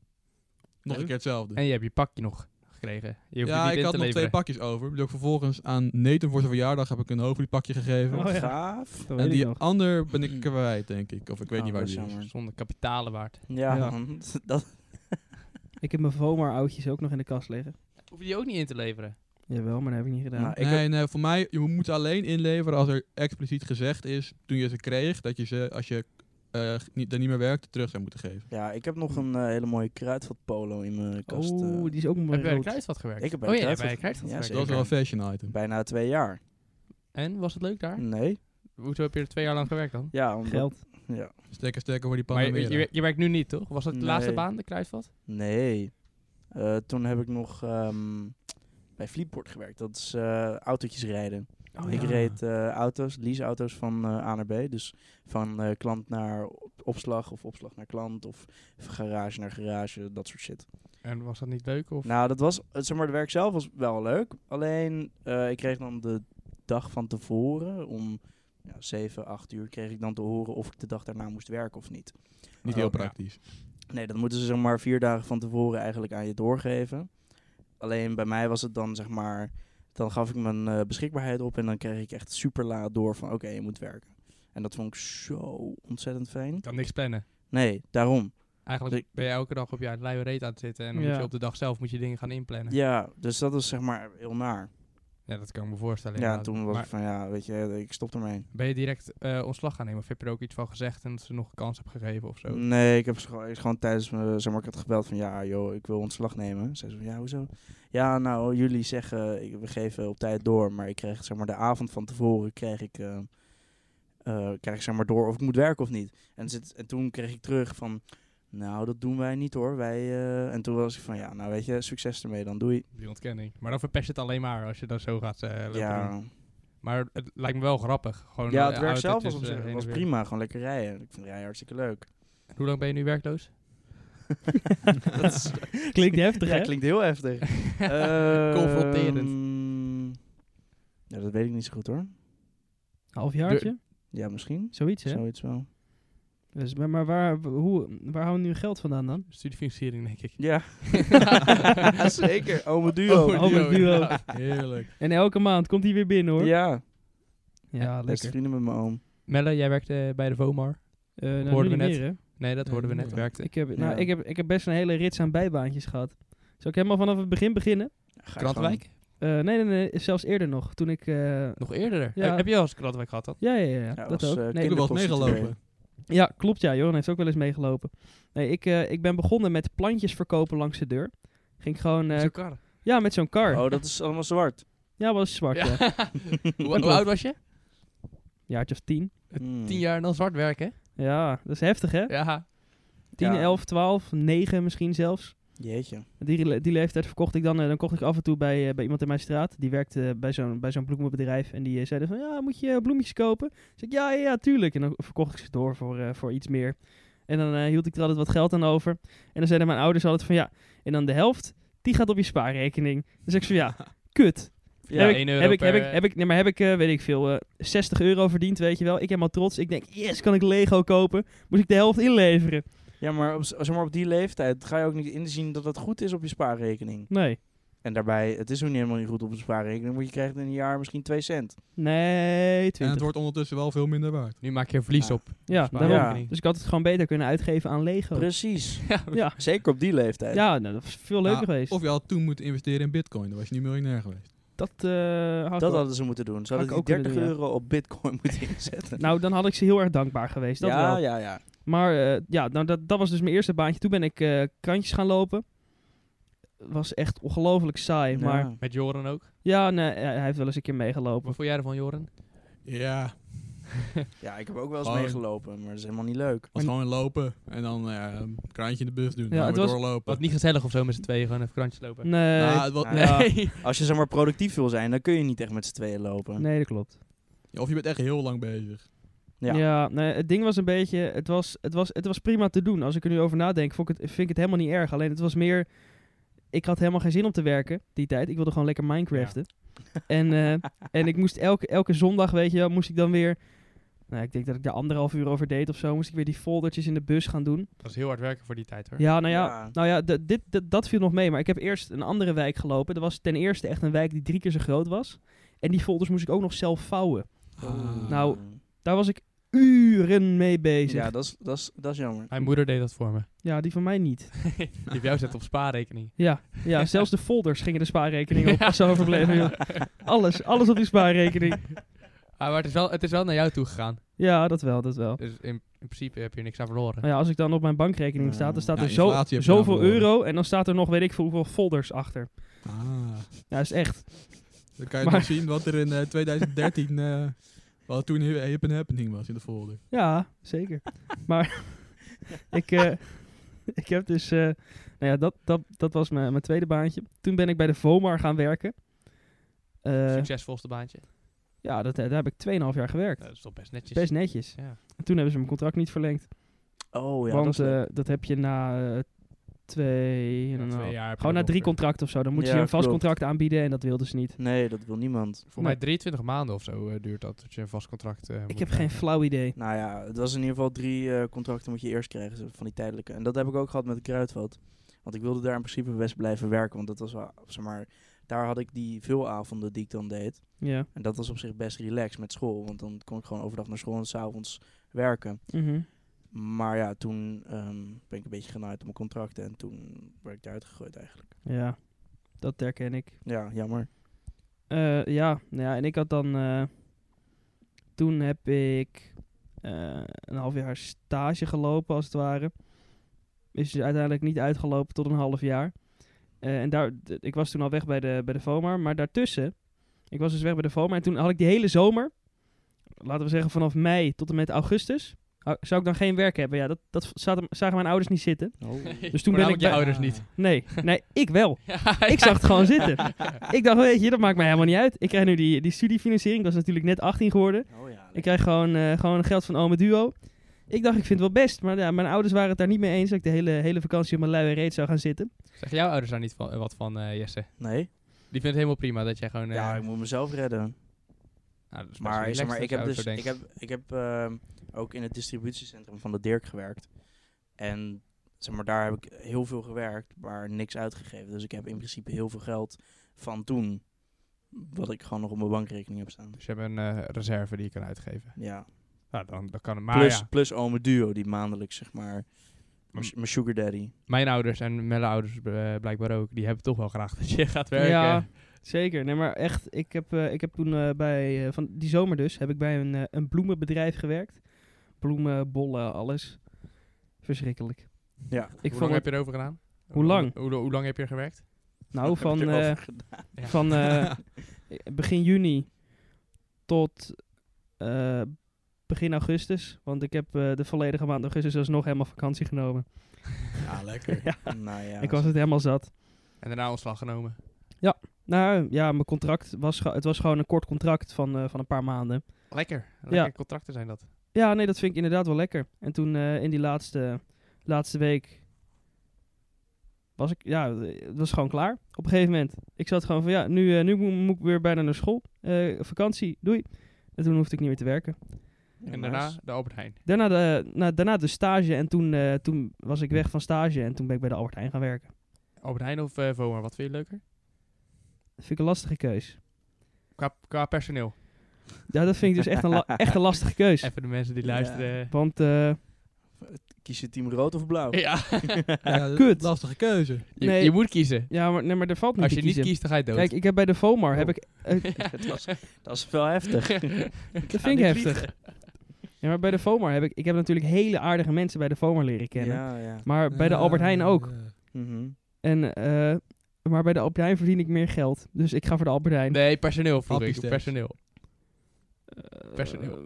Nog een
Leuk.
keer hetzelfde.
En je hebt je pakje nog gekregen. Je hoeft het
ja,
niet
ik
in
had
te
nog twee
leveren.
pakjes over. Die heb ik vervolgens aan Nathan voor zijn verjaardag heb ik een hoogliedpakje gegeven.
Oh,
Wat
ja.
Gaaf.
Dat weet
en
ik
die
nog.
ander ben ik kwijt, denk ik. Of ik weet
Oh,
niet waar
dat is
die is.
jammer.
Zonder kapitalen waard.
Ja,
Ja.
man. Dat,
Ik heb mijn Vomar-oudjes ook nog in de kast liggen.
Hoef je die ook niet in te leveren.
Jawel, maar dat heb ik niet gedaan.
nou, ik heb-
nee, nee, voor mij, je moet ze alleen inleveren als er expliciet gezegd is, toen je ze kreeg, dat je ze, als je eh, niet, er niet meer werkte, terug zou moeten geven.
ja, ik heb nog een eh, hele mooie kruidvatpolo in mijn kast. eh.
oh, die is ook mooi
Heb je bij de
rood.
Kruidvat gewerkt?
Ik heb bij
oh,
de
ja, je hebt bij de
Kruidvat- Ja,
Kruidvat gewerkt.
Dat was wel een fashion item.
Bijna twee jaar.
En, was het leuk daar?
Hm.
Nee?
Hoezo heb je er twee jaar lang gewerkt dan?
Ja, omdat-
Geld.
Ja.
Stekker, stekker voor die
Maar je,
Panamera.
je- je werkt nu niet, toch? Was dat de laatste
Nee.
baan, de Kruidvat?
Nee. Eh, toen heb ik nog ehm, bij Fleetport gewerkt. Dat is eh, autootjes rijden.
Oh,
ik
ja.
reed eh, auto's, leaseauto's van eh, A naar B. Dus van eh, klant naar op- opslag of opslag naar klant of garage naar garage, dat soort shit.
En was dat niet leuk? Of?
Nou, dat was, eh, zeg maar, het werk zelf was wel leuk. Alleen, eh, ik kreeg dan de dag van tevoren om ja, 7, 8 uur kreeg ik dan te horen of ik de dag daarna moest werken of niet.
Niet heel
Oh, ja.
praktisch.
Nee, dat moeten ze zeg maar vier dagen van tevoren eigenlijk aan je doorgeven. Alleen bij mij was het dan zeg maar, dan gaf ik mijn eh, beschikbaarheid op en dan kreeg ik echt super laat door van oké, je moet werken. En dat vond ik zo ontzettend fijn.
Je kan niks plannen.
Nee, daarom.
Eigenlijk ben je elke dag op je luie reet aan het zitten. En dan moet
Ja.
je op de dag zelf moet je dingen gaan inplannen. Ja,
Ja, dus dat is zeg maar heel naar.
dat kan ik me voorstellen.
Ja, en
inderdaad.
toen was
Maar
ik van ja, weet je, ik stop ermee.
ben je direct eh, ontslag gaan nemen? Of heb je er ook iets van gezegd en dat ze nog een kans hebben gegeven of zo?
Nee, ik heb ze gewoon, ik gewoon tijdens mijn, zeg maar, ik had gebeld van ja, joh, ik wil ontslag nemen. Zei ze van ja, hoezo? Ja, nou, jullie zeggen, ik- we geven op tijd door, maar ik kreeg zeg maar de avond van tevoren kreeg ik, eh, eh, kreeg ik zeg maar door of ik moet werken of niet. En, zit, en toen kreeg ik terug van, nou, dat doen wij niet hoor, wij, eh, en toen was ik van ja, nou weet je, succes ermee, dan doei.
Die ontkenning. Maar dan verpest je het alleen maar als je dat zo gaat eh, lopen doen.
Ja,
Maar het lijkt me wel grappig. Gewoon,
ja
eh,
het werk zelf was,
autootjes,
op
eh,
zich-
heen
was
en weer.
prima, gewoon lekker rijden. Ik vind rijden hartstikke leuk.
Hoe lang ben je nu werkloos?
dat is,
Klinkt heftig,
ja,
hè?
klinkt heel heftig. Eh.
Confronterend.
Ehm, Ja, dat weet ik niet zo goed hoor.
Halfjaartje?
Ja, misschien.
Zoiets, hè?
Zoiets wel.
Dus, maar maar waar, w- hoe, waar houden we nu geld vandaan dan?
Studiefinanciering, denk ik.
Ja, zeker. Ome
Duo.
duo.
Ome duo.
ja.
Heerlijk.
En elke maand komt hij weer binnen, oh, hoor.
Ja.
Ja,
Beste
lekker.
vrienden met mijn oom.
Melle, jij werkte bij de VOMAR.
Eh nou,
Hoorden we
nu niet
net.
meer, hè?
Nee, dat
Nee,
hoorden we net.
nooit.
Werkte.
Ik heb, nou,
Ja.
ik, heb, ik heb best een hele rits aan bijbaantjes gehad. Zou ik helemaal vanaf het begin beginnen?
Ga je
Krantwijk?
Eh, nee, nee, nee, zelfs eerder nog. Toen ik... eh,
Nog eerder.
Ja.
Eh, Heb je al eens Krantwijk gehad dan?
ja, ja, ja, ja,
Ja,
dat
als,
ook.
eh,
Nee,
Ik heb wel eens
kinderprostituee.
meegelopen.
Ja, klopt ja. Joran heeft ook wel eens meegelopen. Nee, ik, eh, ik ben begonnen met plantjes verkopen langs de deur. Ging ik gewoon... eh,
Zo'n kar.
ja, met zo'n car.
Oh, dat is allemaal zwart.
Ja, was zwart. Ja.
Ja. hoe, hoe oud was je?
Jaartje of Eh, tien.
Hmm.
Tien jaar en dan zwart werken?
Ja, dat is heftig hè?
Mm. Ja.
10,
Ja.
11, 12, 9 misschien zelfs.
Jeetje.
Die, le- die leeftijd verkocht ik dan. eh, dan kocht ik af en toe bij, eh, bij iemand in mijn straat. Die werkte eh, bij zo'n, bij zo'n bloemenbedrijf. En die eh, zeiden van, ja, moet je eh, bloemetjes kopen? Dus ik, ja, ja, ja, tuurlijk. En dan verkocht ik ze door voor, eh, voor iets meer. En dan eh, hield ik er altijd wat geld aan over. En dan zeiden mijn ouders altijd van, ja, en dan de helft, die gaat op je spaarrekening. Dus ik zo, ja, kut.
Ja,
heb, ik,
één euro
heb, ik,
per,
heb ik,
eh,
heb ik, nee, maar heb ik, eh, weet ik veel, eh, 60 euro verdiend, weet je wel. Ik helemaal trots. Ik denk, yes, kan ik Lego kopen? Moest ik de helft inleveren?
Ja, maar op, z- zeg maar op die leeftijd ga je ook niet inzien dat het goed is op je spaarrekening.
Nee.
En daarbij, het is ook niet helemaal niet goed op een spaarrekening, want je krijgt in een jaar misschien 2 cent.
Nee,
En
20.
het wordt ondertussen wel veel minder waard.
Nu maak je er verlies
Ja.
op.
Ja,
Spaar-
daarom.
Ja.
Dus ik had het gewoon beter kunnen uitgeven aan Lego.
Precies.
Oh. Ja,
Zeker op die leeftijd.
ja nou, dat was veel leuker
Ja,
geweest.
Of je had toen moeten investeren in bitcoin, dan was je niet miljonair geweest.
dat eh, had ik
Dat
wel-
hadden ze moeten doen. Ze
Had
hadden
ik
die
ook kunnen
30
doen,
euro op bitcoin moeten inzetten.
Nou, dan had ik ze heel erg dankbaar geweest. Dat
ja,
wel.
ja, ja.
Maar eh, ja, nou, dat, dat was dus mijn eerste baantje. Toen ben ik eh, kantjes gaan lopen. Was echt ongelooflijk saai.
Ja.
Maar
Met Joren ook.
ja, nee, hij hij heeft wel eens een keer meegelopen.
Wat vond jij ervan, Joren?
Ja.
Ja, ik heb ook wel eens
Gewoon-
meegelopen, maar dat is helemaal niet leuk.
Was gewoon lopen en dan eh, een kraantje in de bus doen.
Ja,
Ja,
het
weer
was-
doorlopen.
Was niet gezellig of zo met z'n tweeën, gewoon even krantjes lopen.
Nee,
Nou, het was-
Nee.
Mm. ja.
Als je zeg maar productief wil zijn, dan kun je niet echt met z'n tweeën lopen.
nee, dat klopt.
Of je bent echt heel lang bezig.
Ja.
Ja, nee, het ding was een beetje, het was, het, was, het was prima te doen. Als ik er nu over nadenk, vond ik het, vind ik het helemaal niet erg. Alleen het was meer, ik had helemaal geen zin om te werken die tijd. Ik wilde gewoon lekker Minecraften. En, eh, en ik moest elke, elke zondag, weet je wel, moest ik dan weer, nou, ik denk dat ik daar anderhalf uur over deed of zo, moest ik weer die foldertjes in de bus gaan doen.
Dat was heel hard werken voor die tijd hoor.
Ja, nou ja,
Ja.
Nou ja d- dit, d- dat viel nog mee. Maar ik heb eerst een andere wijk gelopen. Dat was ten eerste echt een wijk die drie keer zo groot was. En die folders moest ik ook nog zelf vouwen.
Ah.
Nou, Daar was ik uren mee bezig.
ja, dat is- dat is- dat is jammer.
Mijn moeder deed dat voor me.
Ja, die van mij niet.
Die heeft jou zet op spaarrekening.
Ja, ja zelfs de folders gingen de spaarrekening op. Als ze overbleven. joh. Alles, alles op die spaarrekening.
Ah, maar het is, wel, het is wel naar jou toe gegaan.
Ja, dat wel, dat wel.
Dus in, in principe heb je niks aan verloren.
Maar ja, als ik dan op mijn bankrekening sta, dan staat
Ja,
er zo,
inflatie heb je
zoveel
nou verloren.
euro en dan staat er nog weet ik veel hoeveel folders achter.
Ah.
Ja, dat is echt.
Dan kan je
Maar-
nog zien wat er in eh, 2013, eh, wat toen hi- hip and happening was in de folder.
Ja, zeker. Maar ik, eh, ik heb dus, eh, nou ja, dat, dat, dat was mijn, mijn tweede baantje. Toen ben ik bij de VOMAR gaan werken. Eh,
Succesvolste baantje.
ja, dat, daar heb ik 2,5 jaar gewerkt.
Nou, dat is toch best netjes.
Best netjes.
Ja.
En toen hebben ze mijn contract niet verlengd.
Oh ja, dat
Want
is leuk.
eh, dat heb je na eh, twee... en
Ja,
een
twee
half-
jaar heb je
Gewoon na
dat
drie
ongeveer.
contracten of zo. Dan
Ja,
moeten ze je een vast
klopt.
contract aanbieden en dat wilden ze niet.
Nee, dat wil niemand.
Voor mij 23 maanden of zo eh, duurt dat, dat je een vast contract eh, moet
Ik heb geen
krijgen.
flauw idee.
Nou ja, het was in ieder geval drie eh, contracten moet je eerst krijgen zo- van die tijdelijke. En dat heb ik ook gehad met de Kruidvat. Want ik wilde daar in principe best blijven werken. Want dat was wel, zeg maar, daar had ik die veel avonden die ik dan deed.
Ja.
En dat was op zich best relaxed met school. Want dan kon ik gewoon overdag naar school en s'avonds werken.
Mhm.
Maar ja, toen ehm, ben ik een beetje genaaid op mijn contracten. En toen werd ik eruit gegooid eigenlijk.
Ja, dat herken ik.
Ja, jammer.
Eh, ja, nou ja, en ik had dan... eh, toen heb ik eh, een half jaar stage gelopen, als het ware. Is dus uiteindelijk niet uitgelopen tot een half jaar. Eh, en daar, d- ik was toen al weg bij de, bij de VOMAR, maar daartussen... Ik was dus weg bij de VOMAR en toen had ik die hele zomer... Laten we zeggen vanaf mei tot en met augustus... hou- Zou ik dan geen werk hebben? Ja, dat, dat zaten- zagen mijn ouders niet zitten.
Oh.
Dus toen ben
Voornamelijk
ik
je
bij-
ouders niet.
Nee, nee, ik wel. Ik zag het gewoon zitten. Ik dacht, weet je, dat maakt mij helemaal niet uit. Ik krijg nu die, die studiefinanciering. Ik was natuurlijk net 18 geworden.
Oh ja,
Ik krijg gewoon, eh, gewoon geld van Ome Duo. Ik dacht, ik vind het wel best. Maar ja, mijn ouders waren het daar niet mee eens dat ik de hele, hele vakantie op mijn luie reet zou gaan zitten.
Zeggen jouw ouders daar niet van, eh, wat van, eh, Jesse?
Nee?
Die vindt het helemaal prima dat jij gewoon... eh,
Ja, ik moet mezelf redden.
nou, dat is best
Maar,
relaxed
zeg maar
dat
ik
je
heb dus
ouders zo
ik heb, ik heb ehm, ook in het distributiecentrum van de Dirk gewerkt. En zeg maar, daar heb ik heel veel gewerkt, maar niks uitgegeven. Dus ik heb in principe heel veel geld van toen. wat ik gewoon nog op mijn bankrekening heb staan.
Dus je hebt een eh, reserve die je kan uitgeven.
Ja.
Nou, dan, dan kan het. Maar
plus,
ja,
plus ome duo die maandelijks, zeg maar, mijn s- mijn sugar daddy.
mijn ouders en mijn ouders eh, blijkbaar ook, die hebben toch wel graag dat je gaat werken.
Ja, zeker. Nee, maar echt, ik heb, eh, ik heb toen eh, bij, eh, van die zomer dus, heb ik bij een, eh, een bloemenbedrijf gewerkt. Bloemen, bollen, alles. Verschrikkelijk.
Ja.
Ik
hoe
vond
lang
het,
heb je erover gedaan?
Hoe lang?
Hoe, hoe lang heb je er gewerkt?
nou,
Heb
van,
ik erover
eh,
gedaan.
Ja.
van eh, begin juni tot eh, begin augustus. Want ik heb eh, de volledige maand augustus alsnog helemaal vakantie genomen.
Ja, lekker.
nou ja.
ik was het helemaal zat.
En daarna ontslag genomen.
Nou ja, mijn contract was, ge- het was gewoon een kort contract van, eh, van een paar maanden.
Lekker. Lekker contracten zijn dat.
Ja, nee, dat vind ik inderdaad wel lekker. En toen eh, in die laatste, laatste week was ik, ja, het was gewoon klaar. Op een gegeven moment. Ik zat gewoon van, ja, nu, eh, nu moet, moet ik weer bijna naar school. Eh, vakantie, doei. En toen hoefde ik niet meer te werken.
En daarna de Albert Heijn.
Daarna de, na, daarna de stage en toen, eh, toen was ik weg van stage en toen ben ik bij de Albert Heijn gaan werken.
Albert Heijn of eh Vomar, wat vind je leuker?
Dat vind ik een lastige keus.
Qua, qua personeel.
Ja, dat vind ik dus echt een, la- echt een lastige keus.
Even de mensen die
Ja.
luisteren.
Want eh,
Kies je team rood of blauw?
Ja.
Ja, dat-
kut.
Lastige keuze.
Je,
Nee.
je moet kiezen.
ja, maar, nee, maar er valt niet
Als
te
je niet
kiezen.
kiest, Oh. dan ga je dood.
Kijk, ik heb bij de FOMAR, heb ik, eh,
dat, was, dat is wel heftig.
dat vind ik heftig. Ja, maar bij de FOMAR heb ik... Ik heb natuurlijk hele aardige mensen bij de FOMAR leren kennen.
Ja, ja.
Maar bij de Albert Heijn ook.
Ja.
Mhm.
En, eh, maar bij de Albert Heijn verdien ik meer geld. Dus ik ga voor de Albert Heijn.
nee, personeel vroeg
Happy
ik.
dus.
steps.
Personeel.
Eh,
personeel.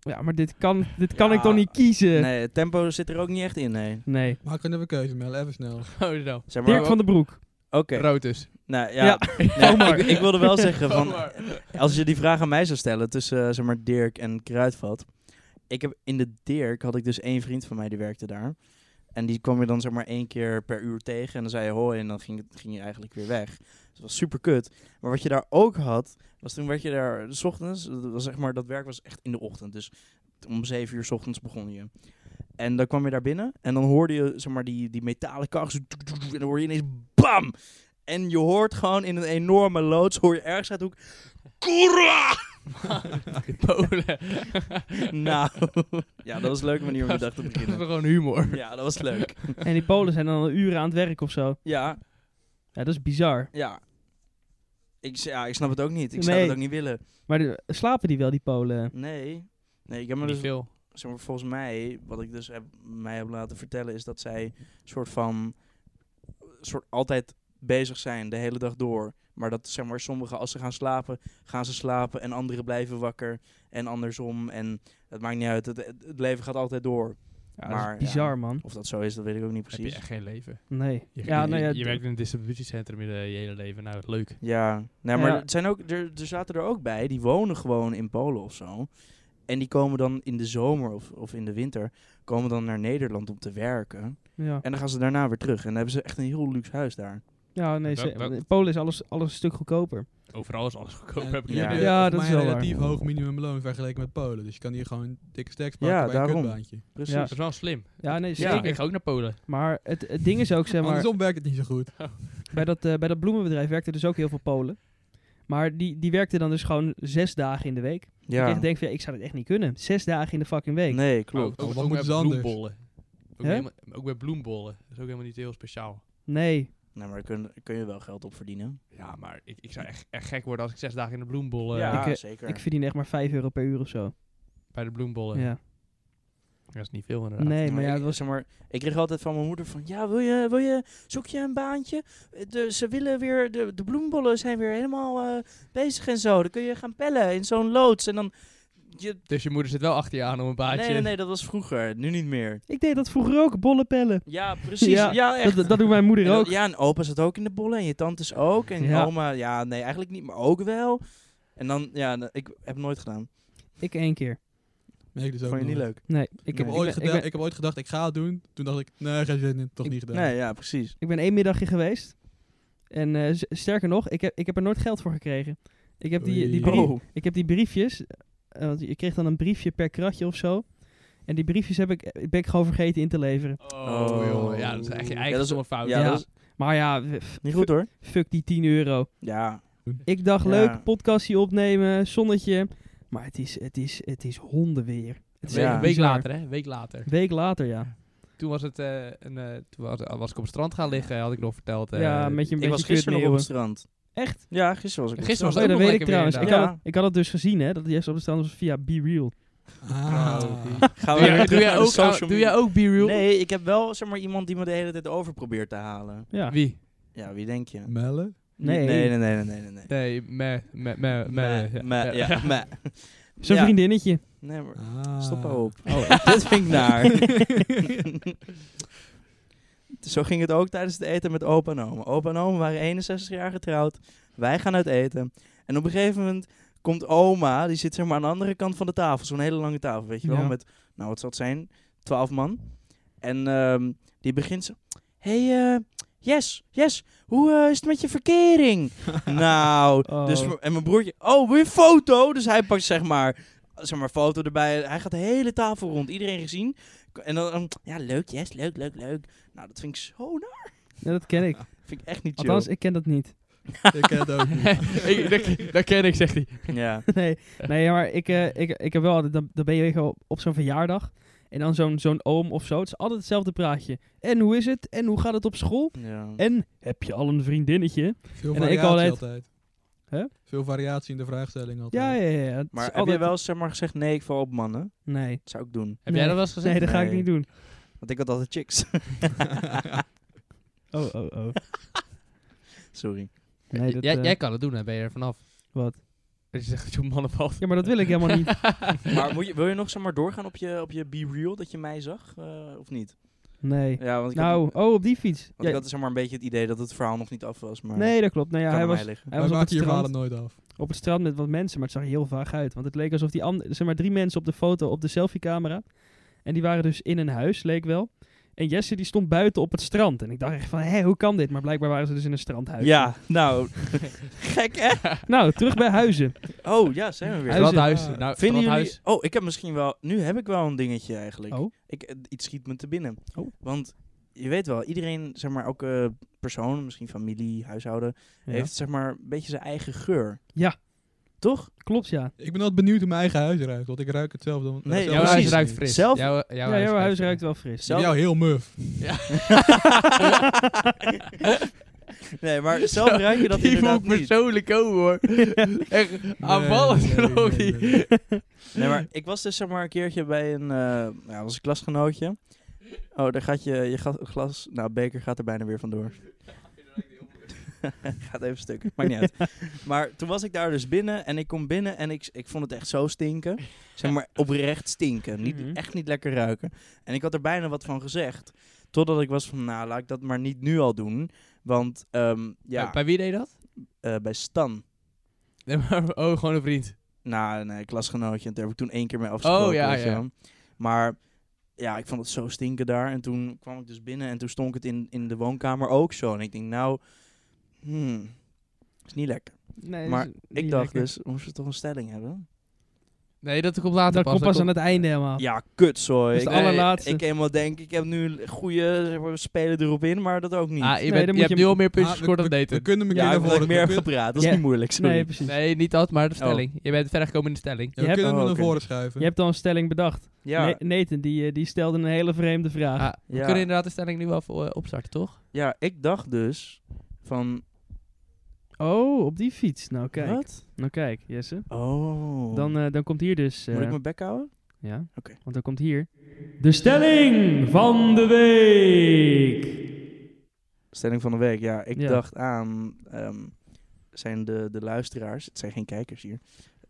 ja, maar dit kan, dit kan ik
Ja,
toch niet kiezen? Nee.
Nee, het tempo zit er ook niet echt in, nee.
Maar kunnen we keuze melden? Even snel.
Oh, zo.
Zeg maar,
Dirk van den Broek.
Oké,
Rood dus. Oh,
nou ja.
Ja.
Nee,
Omar.
ik, ik wilde wel zeggen, van,
Vomar.
als je die vraag aan mij zou stellen tussen eh, zeg maar Dirk en Kruidvat. Ik heb in de Dirk had ik dus één vriend van mij die werkte daar. En die kwam je dan zeg maar één keer per uur tegen. En dan zei je hoi en dan ging, het- ging je eigenlijk weer weg. Dus dat was super kut. Maar wat je daar ook had, was toen werd je daar s ochtends. Dat, was, zeg maar, dat werk was echt in de ochtend. Dus om zeven uur s ochtends begon je. En dan kwam je daar binnen en dan hoorde je zeg maar, die, die metalen kar. zo toek, toek, toek, En dan hoor je ineens BAM! En je hoort gewoon in een enorme loods, hoor je ergens uit de hoek Koera!
Polen.
Nou, ja, dat was een leuke manier om de dag te
Dat is
beginnen.
gewoon humor.
Ja, dat was leuk.
En die Polen zijn dan al uren aan het werk of zo.
Ja,
Ja, dat is bizar.
ja. Ik, s- ja, ik snap het ook niet. Ik zou
Nee.
het ook niet willen.
Maar de- slapen die wel, die Polen?
Nee. Nee, ik heb me
Niet
dus,
veel.
zeg maar, volgens mij, wat ik dus heb, mij heb laten vertellen, is dat zij soort van, soort altijd bezig zijn, de hele dag door. Maar dat, zeg maar, sommigen als ze gaan slapen, gaan ze slapen en anderen blijven wakker. En andersom. En het maakt niet uit, het, het het leven gaat altijd door.
Ja, dat
Maar,
is bizar, man.
Of dat zo is, dat weet ik ook niet
Heb je
precies.
echt geen leven.
Nee.
Je,
ja,
je-
nou ja,
je werkt in een distributiecentrum je, je hele leven. Nou, leuk.
Ja, nee, maar
Ja.
het zijn ook, er, er zaten er ook bij, die wonen gewoon in Polen of zo. En die komen dan in de zomer of, of in de winter, komen dan naar Nederland om te werken.
ja.
En dan gaan ze daarna weer terug. En dan hebben ze echt een heel luxe huis daar.
ja, nee.
Dat-
ze-
dat-
in Polen is alles, alles een stuk goedkoper.
Overal is alles goedkoop.
En
heb ik
hier
Ja.
heb
ja.
je volgens
Ja, dat
mij
is wel
een
waar.
relatief hoog minimumloon vergeleken met Polen. Dus je kan hier gewoon dikke stacks pakken
Ja,
bij een
daarom.
kutbaantje.
Precies.
Ja.
Dat is wel slim.
Ja, nee,
Ja.
zeker.
Ik ga ook naar Polen.
Maar het, het ding is ook, zeg maar...
Andersom werkt het niet zo goed.
bij dat, eh, bij dat bloemenbedrijf werkten dus ook heel veel Polen. Maar die, die werkten dan dus gewoon zes dagen in de week.
Ja.
Ik echt denk van, ja, ik zou dat echt niet kunnen. Zes dagen in de fucking week.
Nee, klopt.
Oh, wat
met
moeten ze anders?
bloembollen. Ook,
Hè?
helemaal, ook met bloembollen. Dat is ook helemaal niet heel speciaal.
Nee.
Nee, maar daar kun, daar kun je wel geld op verdienen.
Ja, maar ik, ik zou echt, echt gek worden als ik zes dagen in de bloembollen...
ja,
ik, eh,
zeker.
Ik verdien echt maar vijf euro per uur of zo.
Bij de bloembollen.
Ja.
Dat is niet veel inderdaad.
Nee, maar
Maar
ja,
ik,
het was...
zeg maar, ik kreeg altijd van mijn moeder van, ja, wil je, wil je, zoek je een baantje? Eh, De, ze willen weer, de, de bloembollen zijn weer helemaal eh, bezig en zo. Dan kun je gaan pellen in zo'n loods. En dan, je,
Dus je moeder zit wel achter je aan om een baantje.
nee, nee, nee, dat was vroeger. Nu niet meer.
Ik deed dat vroeger ook, bollen pellen.
Ja, precies.
Ja,
Ja, echt.
Dat, dat doet mijn
En
moeder
dat-
ook.
ja, en opa zat ook in de bollen en je tantes ook. En
Ja.
oma, ja, nee, eigenlijk niet, maar ook wel. En dan, ja, na- ik heb het nooit gedaan.
Ik één keer.
Merk dus ook
Vond je niet
nooit.
leuk?
Nee. Ik
Ik
heb,
heb,
Nee.
ooit
ik ben, ik
gedaan-
ben,
ik heb ooit gedacht, ik ga het doen. Toen dacht ik, nee, geen zin in, toch
Ik-
niet gedaan.
Nee, ja, precies.
ik ben één middagje geweest. En eh, s- sterker nog, ik heb, ik heb er nooit geld voor gekregen. Ik heb die, die,
Oei.
brief,
Oh,
Ik heb die briefjes, eh, want je kreeg dan een briefje per kratje of zo. En die briefjes heb ik, ben ik gewoon vergeten in te leveren.
Oh,
Oh.
jongen. Ja, dat is echt je eigen
Ja,
ja,
dat is-
fout.
ja,
Ja.
dat is-
Maar ja, w- f-
Niet goed hoor.
fuck die 10 euro.
Ja.
Ik dacht,
Ja.
leuk, podcastje opnemen, zonnetje. Maar het is, het is, het is hondenweer. Het is
Ja.
echt
Een week
bizar.
later, hè? Een week later.
Week later, ja.
Toen was het eh, een, eh, toen was, was ik op het strand gaan liggen, had ik nog verteld. eh,
ja, met je een
Ik was
beetje
gisteren nog op
kutneeuwen.
het strand.
Echt?
Ja, gisteren was ik op het
Gisteren
strand.
was
Oh, ja, dat
nog
weet ik
lekker weer
trouwens. Ik,
inderdaad.
had het, ik had het dus gezien, hè, dat hij eerst op de stand was via Be Real.
Ah.
Oh,
Gaan
Doe,
we
jij-
weer
doe
terug
jij
naar de
ook,
social
doe
media?
jij ook B-Real?
Nee, ik heb wel zeg maar, iemand die me de hele tijd over probeert te halen.
Ja.
Wie?
Ja, wie denk je?
Mellen?
Nee.
Nee, nee, nee, nee, nee. nee.
Nee, me, me, me, me.
Me- me- ja, me.
Zo'n
Ja.
vriendinnetje.
Nee, maar
Ah.
stop maar op. Oh, dit vind ik naar. Zo ging het ook tijdens het eten met opa en oma. Opa en oma waren 61 jaar getrouwd. Wij gaan uit eten. En op een gegeven moment komt oma, die zit zeg maar aan de andere kant van de tafel. Zo'n hele lange tafel, weet je wel.
Ja.
Met, nou wat zal het zijn, 12 man. En ehm, die begint zo... Hé, hey, eh, Yes, yes, hoe eh, is het met je verkering? nou,
Oh.
dus, m- en mijn broertje... Oh, wil je een foto? Dus hij pakt zeg maar, zeg maar foto erbij. Hij gaat de hele tafel rond, iedereen gezien. K- En dan, ehm, ja, leuk, yes, leuk, leuk, leuk. Nou, dat vind ik zo... naar.
Ja, dat ken ik.
vind ik echt niet chill.
Althans, ik ken dat niet.
Ik ken het ook niet.
Ik- dat- Dat ken ik, zegt hij.
Ja.
nee, nee, maar ik, eh, ik, ik heb wel altijd, dan, dan ben je weer op, op zo'n verjaardag. En dan zo'n zo'n oom of zo. Het is altijd hetzelfde praatje. En hoe is het? En hoe gaat het op school?
ja.
En heb je al een vriendinnetje?
Veel
En
variatie
ik altijd-
altijd.
Hè?
Veel variatie in de vraagstelling altijd.
Ja, ja, ja. het
Maar
is
heb
altijd-
je wel eens, zeg maar gezegd, nee, ik val op mannen?
Nee.
Dat zou ik doen.
Heb
Nee.
jij dat wel eens gezegd?
Nee, dat ga ik
Nee.
niet doen.
Want ik had altijd chicks.
Oh, oh, oh.
Sorry.
Nee, dat,
jij,
eh,
jij kan het doen, dan ben je er vanaf.
Wat?
Dat je zegt dat je op mannen valt.
Ja, maar dat wil ik helemaal niet.
Maar moet je, wil je nog zeg maar doorgaan op je, op je Be Real dat je mij zag? eh, of niet?
Nee.
Ja, want ik heb-
Nou, oh, op die fiets.
Want ik
Ja,
had dus zeg maar een beetje het idee dat het verhaal nog niet af was. Maar
nee, dat klopt. Nou ja,
kan
hij
aan
was,
mij liggen.
hij
Wij
was op, het
maken je verhalen
strand,
nooit af.
op het strand met wat mensen, maar het zag er heel vaag uit. Want het leek alsof die ander, zeg maar, drie mensen op de foto, op de selfiecamera. En die waren dus in een huis, leek wel. En Jesse die stond buiten op het strand. En ik dacht echt van, hé, hoe kan dit? Maar blijkbaar waren ze dus in een strandhuis.
Ja, nou. Gek hè?
Nou, terug bij huizen.
Oh ja, zijn we weer.
Huizen.
Strandhuis.
Ah.
Nou,
Vinden jullie...
strandhuis.
Oh, ik heb misschien wel... Nu heb ik wel een dingetje eigenlijk.
Oh.
Ik, eh, iets schiet me te binnen.
Oh.
Want je weet wel, iedereen, zeg maar, elke persoon, misschien familie, huishouden, heeft zeg maar een beetje zijn eigen geur.
Ja.
Toch?
Klopt, ja.
Ik ben altijd benieuwd hoe mijn eigen huis ruikt, want ik ruik hetzelfde. dan-
Nee,
hetzelfde
Jouw huis
precies.
ruikt fris.
Zelf-
Jouw, jouw
Ja, jouw huis ruikt wel fris.
Ik
Zelf-
vind jou heel muf.
nee, maar zelf ruik je dat
Die
inderdaad
moet ik
niet.
persoonlijk ook hoor. Echt
Ah,
nee,
Oh,
aanvallend geloof
nee,
ik.
nee.
Nee, maar ik was dus zeg maar een keertje bij een, eh ja, was een klasgenootje. Oh, daar gaat je, je ga- glas, nou, beker gaat er bijna weer vandoor. gaat even stuk, maakt niet uit. Maar toen was ik daar dus binnen en ik kom binnen en ik, ik vond het echt zo stinken. Zeg maar oprecht stinken, niet,
Mhm.
echt niet lekker ruiken. En ik had er bijna wat van gezegd. Totdat ik was van, nou, laat ik dat maar niet nu al doen. Want, ehm, ja,
Bij- Bij wie deed dat?
eh, bij Stan.
Nee, maar, oh, gewoon een vriend.
Nou, nee, klasgenootje. En daar heb ik toen één keer mee afgesproken.
Oh, ja,
weet je
ja.
wel. Maar ja, ik vond het zo stinken daar. En toen kwam ik dus binnen en toen stonk het in, in de woonkamer ook zo. En ik denk, nou, hmm, is niet lekker.
Nee,
Maar
dus
ik
niet
dacht
lekker.
dus, moesten we toch een stelling hebben?
Nee, dat komt later
Dat
pas.
komt pas aan
komt-
het einde helemaal.
Ja, kutzooi.
Dat is Ah. Dus de
Ik-
allerlaatste.
Ik eenmaal denk, ik heb nu een goede zeg maar, spelen erop in, maar dat ook niet.
Ah, je,
Nee,
bent,
dan
je
moet
hebt
je-
nu al meer
Ah,
puntjes
we-
gescoord dan
we- We
daten.
kunnen me
ja,
naar
ik
voren.
heb meer
we kun-
gepraat. Dat is
Ja.
niet moeilijk, sorry.
nee, precies.
Nee, niet dat, maar de
Oh.
stelling. Je bent verder gekomen in de stelling.
ja,
Je
we
hebt-
kunnen me
oh,
naar
oké.
voren schuiven.
Je hebt al een stelling bedacht.
ja,
Ne- Nathan, die, eh, die stelde een hele vreemde vraag.
Ah, We
Ja.
kunnen inderdaad de stelling nu wel voor- eh, opstarten, toch?
ja, ik dacht dus van,
Oh, op die fiets. Nou, kijk.
wat?
Nou, kijk, Jesse.
Oh.
Dan, eh, dan komt hier dus... eh,
Moet ik mijn bek houden?
Ja,
Oké.
want dan komt hier... De stelling van de week.
Stelling van de week, ja. Ik
Ja.
dacht aan, ehm, zijn de, de luisteraars, het zijn geen kijkers hier,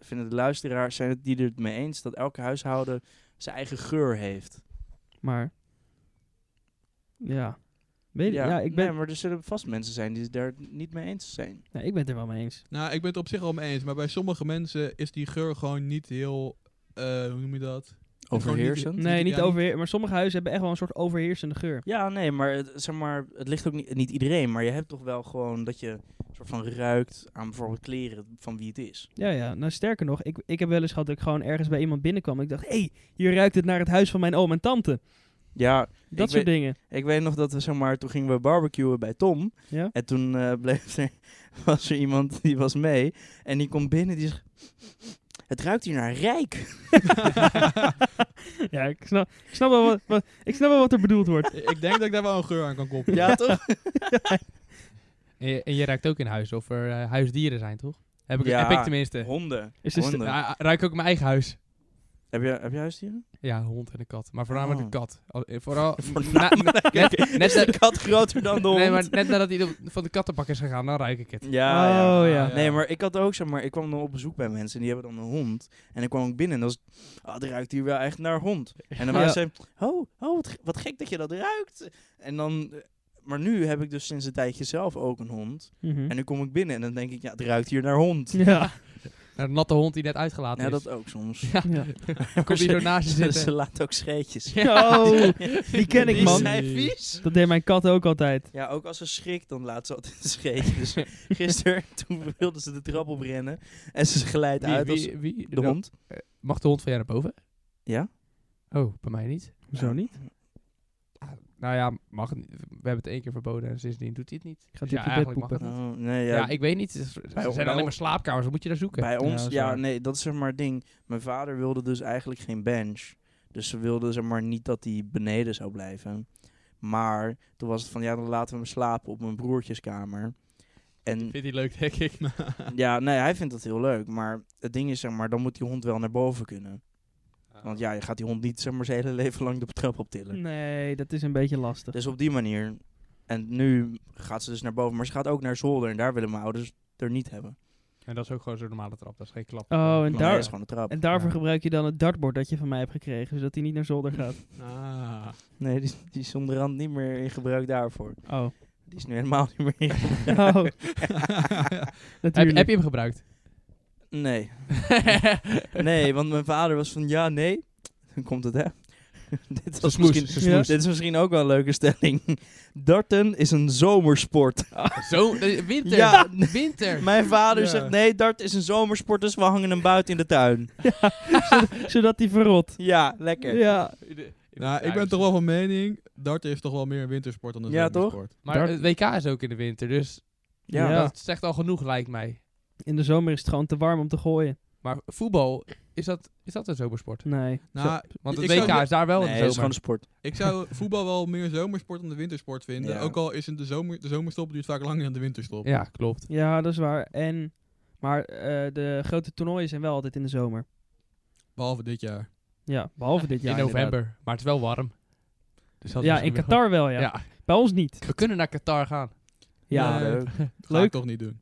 vinden de luisteraars, zijn het die er het mee eens dat elke huishouden zijn eigen geur heeft?
Maar... Ja. Weet je, ja, ik, ben,
Nee, maar er zullen vast mensen zijn die het daar niet mee eens zijn.
nou, ik ben het er wel mee eens.
Nou, ik ben het op zich al mee eens, maar bij sommige mensen is die geur gewoon niet heel. eh, hoe noem je dat? Overheersend?
Nee, niet
ja, niet-
overheer... Maar sommige huizen hebben echt wel een soort overheersende geur.
Ja, nee, maar het, zeg maar, het ligt ook niet, niet iedereen, maar je hebt toch wel gewoon dat je soort van ruikt aan bijvoorbeeld kleren van wie het is.
Ja, ja. Nou, sterker nog, ik, ik heb wel eens gehad dat ik gewoon ergens bij iemand binnenkwam. En ik dacht, hé, hey, hier ruikt het naar het huis van mijn oom en tante.
Ja,
Dat
ik
soort
weet,
dingen.
ik weet nog dat we, zeg maar, toen gingen we barbecuen bij Tom.
Ja?
En toen eh, bleef er, was er iemand die was mee. En die komt binnen die zegt... Het ruikt hier naar rijk.
ja, ik snap, ik, snap wel wat, wat- ik snap wel wat er bedoeld wordt.
ik denk dat ik daar wel een geur aan kan koppelen.
Ja, toch?
En je, en je ruikt ook in huis of er eh, huisdieren zijn, toch? Heb ik,
Ja.
heb ik tenminste.
Honden.
Is dus de-
Honden.
Ja, ruik ik ook in mijn eigen huis.
Heb, je, heb je huisdieren?
Ja, een hond en een kat. Maar voornamelijk
Oh.
een kat. Al- eh, Vooral.
Voornamelijk.
na- net, net,
Is de
na-
kat groter dan de hond?
nee, maar net nadat hij de- van de kattenbak is gegaan, dan ruik ik het.
Ja, ja.
oh ja.
ja.
Nee, maar ik had ook, zeg maar, ik kwam dan op bezoek bij mensen en die hebben dan een hond. En ik kwam ook binnen en dan was het, ah, het ruikt hier wel echt naar hond. En dan
Ja.
waren ze, oh, oh wat, ge- wat gek dat je dat ruikt. En dan, eh, maar nu heb ik dus sinds een tijdje zelf ook een hond.
Mhm.
En nu kom ik binnen en dan denk ik, ja, het ruikt hier naar hond.
Ja,
Naar een natte hond die net uitgelaten
Ja,
is.
dat ook soms.
dus. Ja.
ja.
Komt hij
Ze-
zo naast je
Ze, ze
zitten.
laat ook scheetjes.
Oh, die ken ik,
Die
man.
zijn vies.
dat deed mijn kat ook altijd.
Ja, ook als ze schrikt, dan laat ze altijd een scheetje. Dus gisteren, toen wilde ze de trap op rennen en ze glijdt
Wie-
uit als
wie- wie-
de hond.
Mag de hond van jou naar boven?
Ja?
Oh, bij mij niet.
Hoezo niet?
Nou ja, mag het niet. We hebben het één keer verboden en sindsdien doet hij het niet.
Ik ga
Dus
dit op je bed
eigenlijk mag
poepen.
het.
Oh, nee,
Ja,
ja,
ik weet niet. Het is-
bij
Er zijn alleen
ons-
maar slaapkamers. Wat moet je daar zoeken?
Bij ons,
dat is
ja,
waar.
nee, dat is zeg maar het ding. Mijn vader wilde dus eigenlijk geen bench. Dus ze wilden zeg maar niet dat hij beneden zou blijven. Maar toen was het van, ja, dan laten we hem slapen op mijn broertjeskamer. En
Vindt hij leuk, denk ik.
ja, nee, hij vindt dat heel leuk. Maar het ding is, zeg maar, dan moet die hond wel naar boven kunnen.
Ah.
Want ja, je gaat die hond niet zeg maar zijn hele leven lang de trap
Hmm.
optillen.
Nee, dat is een beetje lastig.
Dus op die manier. En nu gaat ze dus naar boven. Maar ze gaat ook naar zolder. En daar willen mijn ouders er niet hebben.
En dat is ook gewoon zo'n normale trap. Dat is geen klap.
Oh, en
Nee,
daar-
dat is gewoon de trap.
En daarvoor
Ja.
gebruik je dan het dartboard dat je van mij hebt gekregen, zodat hij niet naar zolder gaat.
Ah.
Nee, die, die is onderhand niet meer in gebruik daarvoor.
Oh,
Die is nu helemaal niet meer in gebruik.
oh
heb,
natuurlijk.
heb je hem gebruikt?
Nee. Nee, want mijn vader was van ja, nee. Dan komt het, hè? dit, was
smoes,
misschien,
ze smoes.
dit is misschien ook wel een leuke stelling. Darten is een zomersport.
Zo, eh, winter.
Ja.
Winter.
Mijn vader
Ja.
zegt nee, dart is een zomersport, dus we hangen hem buiten in de tuin.
Zodat hij verrot.
Ja, lekker.
Ja,
Nou, ik ben toch wel van mening, darten is toch wel meer een wintersport dan een
Ja, toch?
zomersport.
Maar
Daar-
het WK is ook in de winter, dus
Ja.
Ja.
dat zegt al genoeg, lijkt mij.
in de zomer is het gewoon te warm om te gooien.
Maar voetbal, is dat, is dat een zomersport?
Nee.
Nou,
Want het
Ik zou-
WK is daar wel
Nee, het
een
is gewoon een
zomer.
sport.
ik zou voetbal wel meer zomersport dan de wintersport vinden.
Ja.
Ook al is in de, zomer, de zomerstop duurt vaak langer dan de winterstop.
Ja, klopt.
Ja, dat is waar. En, maar eh, de grote toernooien zijn wel altijd in de zomer.
Behalve dit jaar.
Ja, behalve dit jaar.
in
inderdaad.
november. Maar het is wel warm. Dus dat is
Ja,
misschien
in
wel-
Qatar wel, ja.
Ja.
Bij ons niet.
We kunnen naar Qatar gaan.
Ja,
Nee.
leuk.
Ga
Leuk.
ik toch niet doen.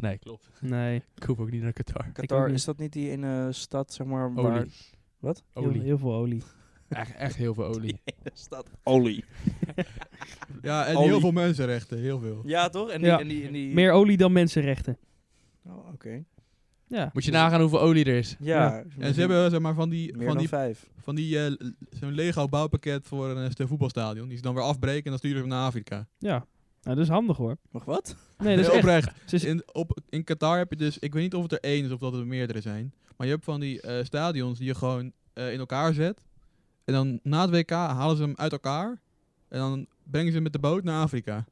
Nee, klopt.
nee.
Ik hoef ook niet naar Qatar.
ook
Qatar,
niet.
is dat niet die ene stad, zeg maar, waar...
Olie.
Wat?
Heel,
Olie.
heel veel olie.
Echt, echt heel veel olie.
Stad Olie.
Ja, en
Olie.
heel veel mensenrechten. Heel veel.
Ja, toch? En die...
Ja.
En die, en die...
Meer olie dan mensenrechten.
Oh, oké.
Ja.
Moet je nagaan hoeveel olie er is.
Ja.
En ze hebben zeg maar van die,
Meer
van
dan
die,
vijf.
van die eh, l- zo'n Lego bouwpakket voor een eh, voetbalstadion. Die ze dan weer afbreken en dan sturen ze hem naar Afrika.
Ja. Nou, dat is handig hoor.
Nog wat?
Nee, dat
Nee,
is echt... dus-
oprecht.
ze is-
In, op, in Qatar heb je dus, ik weet niet of het er één is of dat er meerdere zijn. Maar je hebt van die eh, stadions die je gewoon eh, in elkaar zet. En dan na het WK halen ze hem uit elkaar. En dan brengen ze hem met de boot naar Afrika. en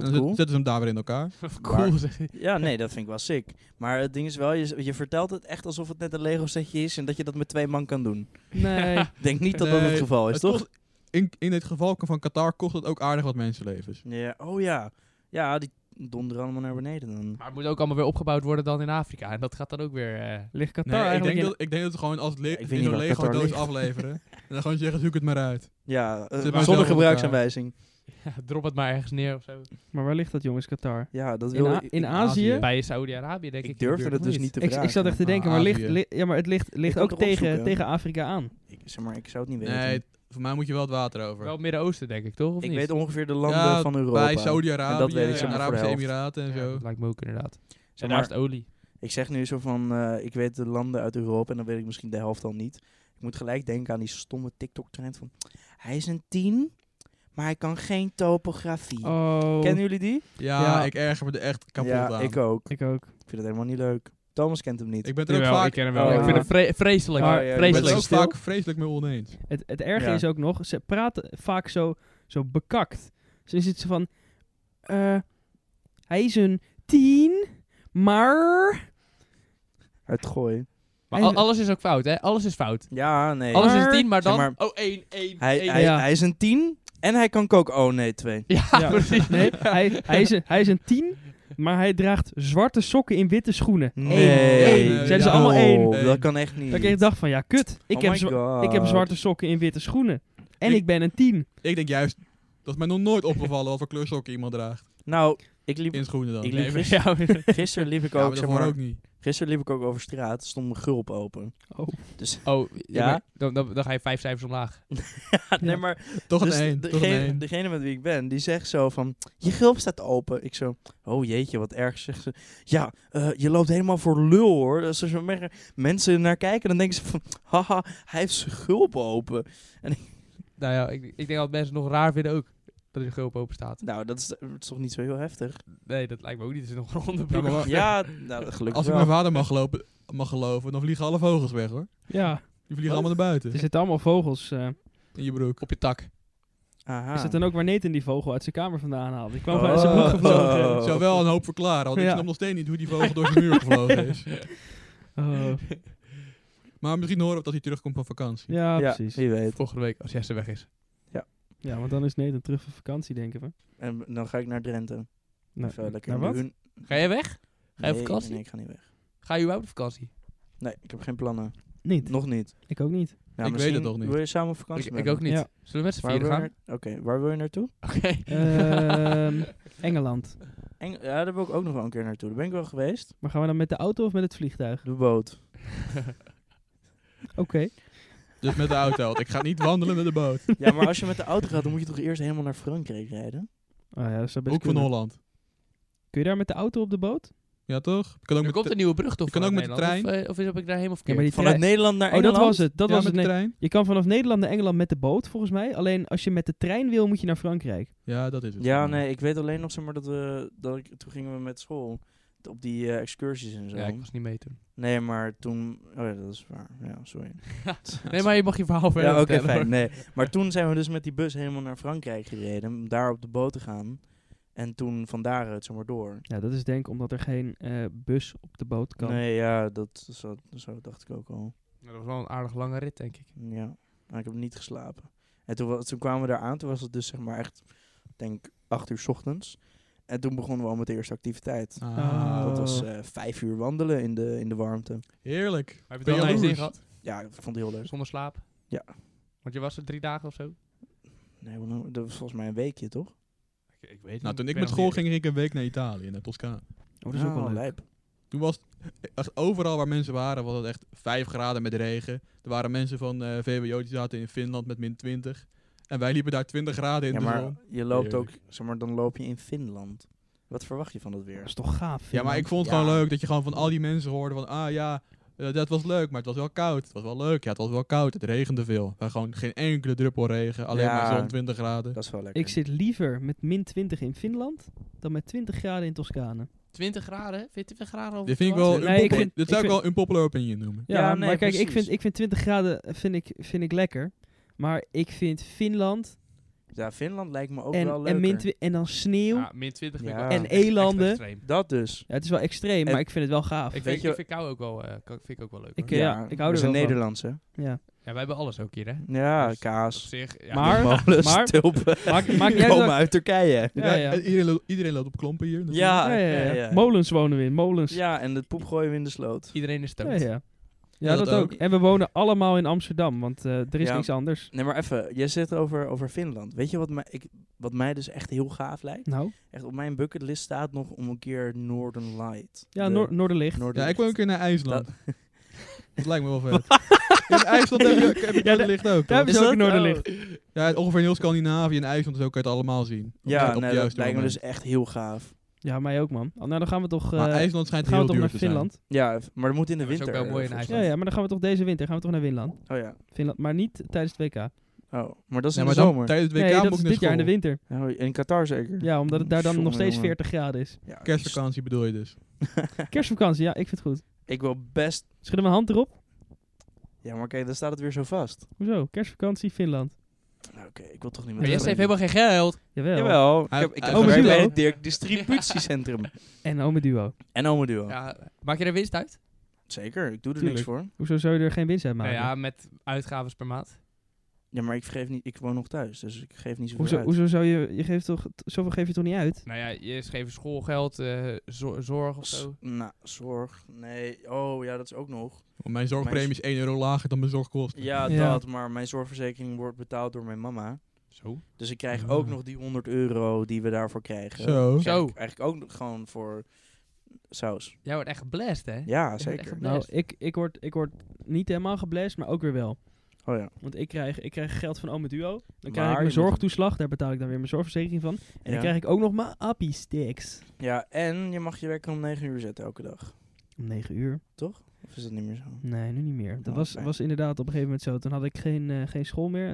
Wat
dan zet-
cool.
zetten ze hem daar weer in elkaar.
Cool, zeg je.
Ja, nee, dat vind ik wel sick. Maar het ding is wel, je, je vertelt het echt alsof het net een Lego setje is en dat je dat met twee man kan doen.
Nee.
Ik denk niet dat dat het
Nee,
geval is,
Het
toch?
kost- in, in dit geval van Qatar kost het ook aardig wat mensenlevens.
Ja, oh ja. Ja, die donderen allemaal naar beneden dan.
Maar het moet ook allemaal weer opgebouwd worden dan in Afrika. En dat gaat dan ook weer... eh,
Ligt Qatar
Nee, ik
eigenlijk
denk,
in-
dat, ik denk dat ze gewoon als het le-
Ik weet
in
niet
zo'n
waar
Lego
Qatar
doos
ligt.
afleveren. en dan gewoon zeggen, zoek het maar uit.
Ja, eh,
Zit maar zelf
zonder
op
gebruiksaanwijzing.
drop het maar ergens neer of zo.
Maar waar ligt dat jongens, Qatar?
Ja, dat
In,
wil
A-
ik.
in
ik-
Azië?
Bij Saudi-Arabië denk ik.
Ik durfde het dus niet te
Ik,
vragen.
ik zat echt te denken, maar,
Ah,
ligt,
Azië.
li- ja, maar het ligt, ligt
kan
ook
het erop
tegen,
zoeken.
tegen Afrika aan.
Ik, zeg maar, ik zou het niet weten.
Nee, voor mij moet je wel het water over.
Wel Midden-Oosten denk ik, toch? Of
ik
niet?
weet ongeveer de landen
Ja,
van Europa.
Bij
En
Saudi-Arabië
dat weet
en,
ik zeg maar voor de
Arabische
helft.
Emiraten en
Ja,
zo.
dat lijkt me ook inderdaad.
Zeg
En
maar,
naast olie.
ik zeg nu zo van, eh, ik weet de landen uit Europa en dan weet ik misschien de helft al niet. Ik moet gelijk denken aan die stomme TikTok-trend van, hij is een tien, maar hij kan geen topografie.
Oh,
Kennen jullie die?
Ja,
Ja.
ik erger me er echt kapot
ja,
aan.
ik ook.
ik ook.
Ik vind het helemaal niet leuk. Thomas kent hem niet.
Ik ben het er ook
Jawel, ik
vaak,
ken hem
Oh,
wel.
ik
ja.
vind het vre- vreselijk.
Oh, ja, ja.
ik ben het
vreselijk.
ook
Stil.
vaak vreselijk mee oneens.
Het, het erge
Ja.
is ook nog, ze praten vaak zo, zo bekakt. Ze zitten ze van, eh, hij is een tien, maar...
Het gooi.
Maar
En-
al- alles is ook fout, hè? Alles is fout.
Ja, nee.
Alles
Maar-
is 10, maar
Zeg
dan...
maar-
oh, 1, 1,
Hij,
1.
hij,
Ja.
hij is een 10 en hij kan koken. Oh nee, 2.
Ja,
Ja.
precies.
Nee, hij, hij, is een, hij is een tien, maar hij draagt zwarte sokken in witte schoenen.
Nee.
Eén, één.
Nee,
Zijn ze
ja.
allemaal één?
Oh,
één.
Dat kan echt niet.
Dat ik echt dacht van, ja, kut. Ik,
Oh
heb,
my
zwa-
God.
ik heb zwarte sokken in witte schoenen. En
Ik-
ik, ben een tien.
Ik denk juist, dat is mij nog nooit opgevallen wat voor kleursokken iemand draagt.
Nou, ik liep,
In schoenen dan.
Ik
nee,
liep
maar-
gisteren, gisteren liep ik
ja, maar
ook,
dat
zeg
hoort
maar,
ook niet.
gisteren liep ik ook over straat, stond mijn gulp open.
Oh.
Oh,
Ja?
ja. maar Dan, dan, dan ga je vijf cijfers omlaag.
nee, maar
Toch
dus
een 1, toch een
degene,
1.
degene met wie ik ben, die zegt zo van, je gulp staat open. Ik zo, oh jeetje, wat erg, zegt ze. Ja, eh, je loopt helemaal voor lul hoor. Als er zo mer- mensen naar kijken, dan denken ze van, haha, hij heeft zijn gulp open.
Nou ja, ik, ik denk dat mensen het nog raar vinden ook. Dat je gulp open staat.
Nou, dat is, dat is toch niet zo heel heftig?
Nee, dat lijkt me ook niet. Er zit nog een
Ja,
onderbroek.
maar-
Ja, nou, gelukkig
Als ik
wel.
mijn vader mag, gelopen, mag geloven, dan vliegen alle vogels weg hoor.
Ja,
Die vliegen
Wat?
allemaal naar buiten.
er zitten allemaal vogels. eh.
In je broek.
op je tak.
Aha.
Is het dan ook waar Nathan die vogel uit zijn kamer vandaan haalde? Die kwam
Ah. Oh.
vanuit zijn broek gevlogen.
Oh.
Zou wel een hoop verklaren, want ik
Ja.
snap nog steeds niet hoe die vogel door zijn muur gevlogen is.
Oh.
Maar misschien horen we dat hij terugkomt van vakantie.
Ja,
ja,
precies.
wie weet.
Volgende week, als Jesse weg is.
Ja, want dan is Nathan terug van vakantie, denken we.
En dan ga ik naar Drenthe.
Nou,
Even lekker
naar
in de
wat?
hun-
Ga jij weg? Ga je op vakantie?
Nee, ik ga niet weg.
Ga je überhaupt op vakantie?
Nee, ik heb geen plannen.
Niet.
Nog niet.
Ik ook niet.
Ja,
Ik weet
misschien
het nog niet.
Wil je samen op
Ik,
vakantie? met
ik
me?
ook niet.
Ja.
Zullen we met z'n
Waar
vieren
wil je
gaan?
naar- Oké, waar wil je naartoe?
Oké.
Ehm, Engeland.
Eng ja, daar wil ik ook nog wel een keer naartoe. Daar ben ik wel geweest.
Maar gaan we dan met de auto of met het vliegtuig?
De boot.
Oké.
Dus met de auto. want ik ga niet wandelen met de boot.
ja, maar als je met de auto gaat, dan moet je toch eerst helemaal naar Frankrijk rijden?
Oh ja, dat zou best
Hoek van
kunnen.
Holland.
Kun je daar met de auto op de boot?
Ja toch? Ik kan ook
Er
met
komt
de,
een nieuwe brug toch?
je kan
vanuit
ook met de
Nederland? Of, eh, of is heb ik daar helemaal verkeerd?
maar die
Vanuit
Ja.
Nederland naar
Oh, dat
Engeland?
was het. Dat
ja,
was
met
het.
de
Nee,
trein.
Je kan vanaf Nederland naar Engeland met de boot, volgens mij. Alleen als je met de trein wil, moet je naar Frankrijk.
Ja, dat is het.
Ja, nee, ik weet alleen nog zeg maar dat we... Dat ik, toen gingen we met school op die eh, excursies en zo.
Ja, ik was niet mee toen.
Nee, maar toen... Oh ja, dat is waar. Ja, sorry.
Nee, maar je mag je verhaal verder
Ja, oké,
vertellen,
fijn.
hoor.
Nee. Maar toen zijn we dus met die bus helemaal naar Frankrijk gereden. Om daar op de boot te gaan. En toen van daaruit zomaar door.
Ja, dat is denk ik omdat er geen eh, bus op de boot kan.
Nee, ja, dat zo, zo dacht ik ook al.
Dat was wel een aardig lange rit, denk ik.
Ja, maar ik heb niet geslapen. En toen, wa- toen kwamen we daar aan, toen was het dus zeg maar echt, ik denk acht uur 's ochtends. En toen begonnen we al met de eerste activiteit.
Ah,
Dat
Oh.
was eh, vijf uur wandelen in de, in de warmte.
heerlijk.
Maar heb je
Ben
het wel naar je zin
jaloers?
gehad?
Ja, ik vond het heel leuk.
Zonder slaap?
Ja.
Want je was er drie dagen of zo?
Nee, hoe lang- dat was volgens mij een weekje, toch?
Ik, ik weet
Nou,
het niet.
toen ik met
ben nog
school
niet-
ging, ging ik een week naar Italië, naar Toscane.
Oh, dat is ook wel
Ah,
leuk.
lijp.
Toen was het echt overal waar mensen waren, was het echt 5 graden met regen. Er waren mensen van eh VWO die zaten in Finland met min 20. En wij liepen daar 20 graden in
Ja,
de
maar
zon.
je loopt ook, zeg maar, dan loop je in Finland. Wat verwacht je van dat
Dat
weer?
is toch gaaf.
Ja, maar
Finland.
ik vond het
Ja.
gewoon leuk dat je gewoon van al die mensen hoorde van... Ah ja, eh, dat was leuk, maar het was wel koud. Het was wel leuk, ja, het was wel koud. Het regende veel. Maar gewoon geen enkele druppel regen, alleen
Ja.
maar zon 20 graden.
Dat is wel lekker.
Ik zit liever met min 20 in Finland dan met 20 graden in Toscane.
20 graden? Vind je 20 graden al?
Dit vind ik wel...
Nee,
unpopular-
ik vind-
dit zou
ik
ik wel een popular opinion noemen.
Ja,
Ja, nee,
maar kijk, ik
precies.
vind, ik vind 20 graden eh, vind ik, vind ik lekker. Maar ik vind Finland
Ja, Finland lijkt me ook wel
en,
leuk.
en, min twi- en dan sneeuw.
Ja, min 20 vind ik
Ja.
wel
En
echt- echt
elanden.
extreem.
Dat dus.
Ja, het is wel extreem,
En-
maar ik vind het wel gaaf.
Ik
Weet
vind,
je-
ik vind kou ook wel, eh, kan- vind ik ook wel leuk.
Ik-
hoor.
ja, ik hou er
we zijn
wel van.
Nederlands, hè?
ja.
Ja, wij hebben alles ook hier, hè?
Ja,
Dus
kaas.
Op zich, ja,
Maar-
Molens,
maar-
tulpen.
Maak, maakt niet uit
Komen
welk-
uit Turkije.
Ja, ja.
en eh, Iedereen, lo- iedereen loopt op klompen hier. dus- natuurlijk.
Ja,
Ja, ja,
ja,
ja.
ja.
Molens wonen we in, molens.
Ja, en het poep gooien we in de sloot.
iedereen is
ja,
stoned.
ja. ja, dat,
dat
ook.
ook.
En we wonen allemaal in Amsterdam, want eh, er is
Ja.
niks anders.
Nee, maar even, jij zegt over, over Finland. Weet je wat mij, ik, wat mij dus echt heel gaaf lijkt?
Nou,
Echt op mijn bucketlist staat nog om een keer Northern Light.
ja,
De
Noor- Noorderlicht.
Ja,
Noorderlicht.
ik wil een keer naar IJsland. Dat lijkt me wel vet. In IJsland heb je, heb je
Ja,
het licht ook.
Daar
toch?
hebben ze
Is
ook een
dat?
oh.
Noorderlicht.
Ja, ongeveer in heel Scandinavië en IJsland, zo kan je het allemaal zien. Op
Ja,
de- op
nee,
de
dat
juiste
lijkt me
moment.
dus echt heel gaaf.
Ja, mij ook, man. Oh, nou, dan gaan we toch, eh,
Maar IJsland schijnt
gaan we
heel
toch
duur
naar
te zijn.
Finland.
Ja, f- maar dat moet in de
Ja, dat is
winter.
ook wel
eh,
mooi in
volgens
Ja, ja, maar dan gaan we toch deze winter gaan we toch naar Winland.
mij. Oh ja.
Finland, maar niet tijdens het WK.
Oh, maar dat is
Ja,
in
maar
de
dan,
zomer.
tijdens het WK
nee,
moet
dat
ik
is
naar
dit jaar in de
school.
winter.
Ja, in Qatar zeker.
Ja, omdat het daar dan
Jongen,
nog steeds
jongen.
40 graden is.
Ja,
Kerstvakantie bedoel je dus.
Kerstvakantie, ja, ik vind het goed.
Ik wil best...
Schudden mijn hand erop.
Ja, maar kijk, dan staat het weer zo vast.
Hoezo? Kerstvakantie, Finland.
Nou, Oké, ik wil toch niet meer...
Maar Jesse heeft
terug.
helemaal geen geld.
Jawel.
Jawel, ik
Hij-
heb, ik
hij-
heb
Ome
gewerkt
Duo.
bij het Dirk distributiecentrum.
En Ome Duo.
En Ome Duo.
Ja, maak je er winst uit?
Zeker, ik doe er niks
Tuurlijk.
voor.
Hoezo zou je er geen winst uit
Nou
maken?
ja, met uitgaven per maand.
Ja, maar ik, geef niet, ik woon nog thuis, dus ik geef niet zoveel
hoezo,
uit.
hoezo zou je... je geeft toch, t- zoveel geef je toch niet uit?
Nou ja, je schreef schoolgeld, eh, zo- zorg of
S-
zo.
nou, zorg. Nee, oh ja, dat is ook nog.
Want mijn zorgpremie is 1 euro lager dan mijn zorgkosten.
Ja,
Ja.
dat, maar mijn zorgverzekering wordt betaald door mijn mama.
Zo.
Dus ik krijg
Ah.
ook nog die 100 euro die we daarvoor krijgen.
Zo.
Krijg
Zo.
ik Eigenlijk ook nog gewoon voor saus.
Jij wordt echt geblest, hè?
Ja,
echt
zeker.
geblest.
Nou,
Blessed.
ik, ik, word, ik word niet helemaal geblest, maar ook weer wel.
Oh ja.
Want ik krijg, ik krijg geld van Ome Duo. Dan
Maar
krijg ik
je
mijn
moet-
zorgtoeslag. Daar betaal ik dan weer mijn zorgverzekering van. En
Ja.
dan krijg ik ook nog mijn appie sticks.
Ja, en je mag je wekker om 9 uur zetten elke dag.
Om negen uur.
Of is dat niet meer zo?
Nee, nu niet meer. Dat
Oh,
was,
oké.
was inderdaad op een gegeven moment zo. Toen had ik geen, eh, geen school meer.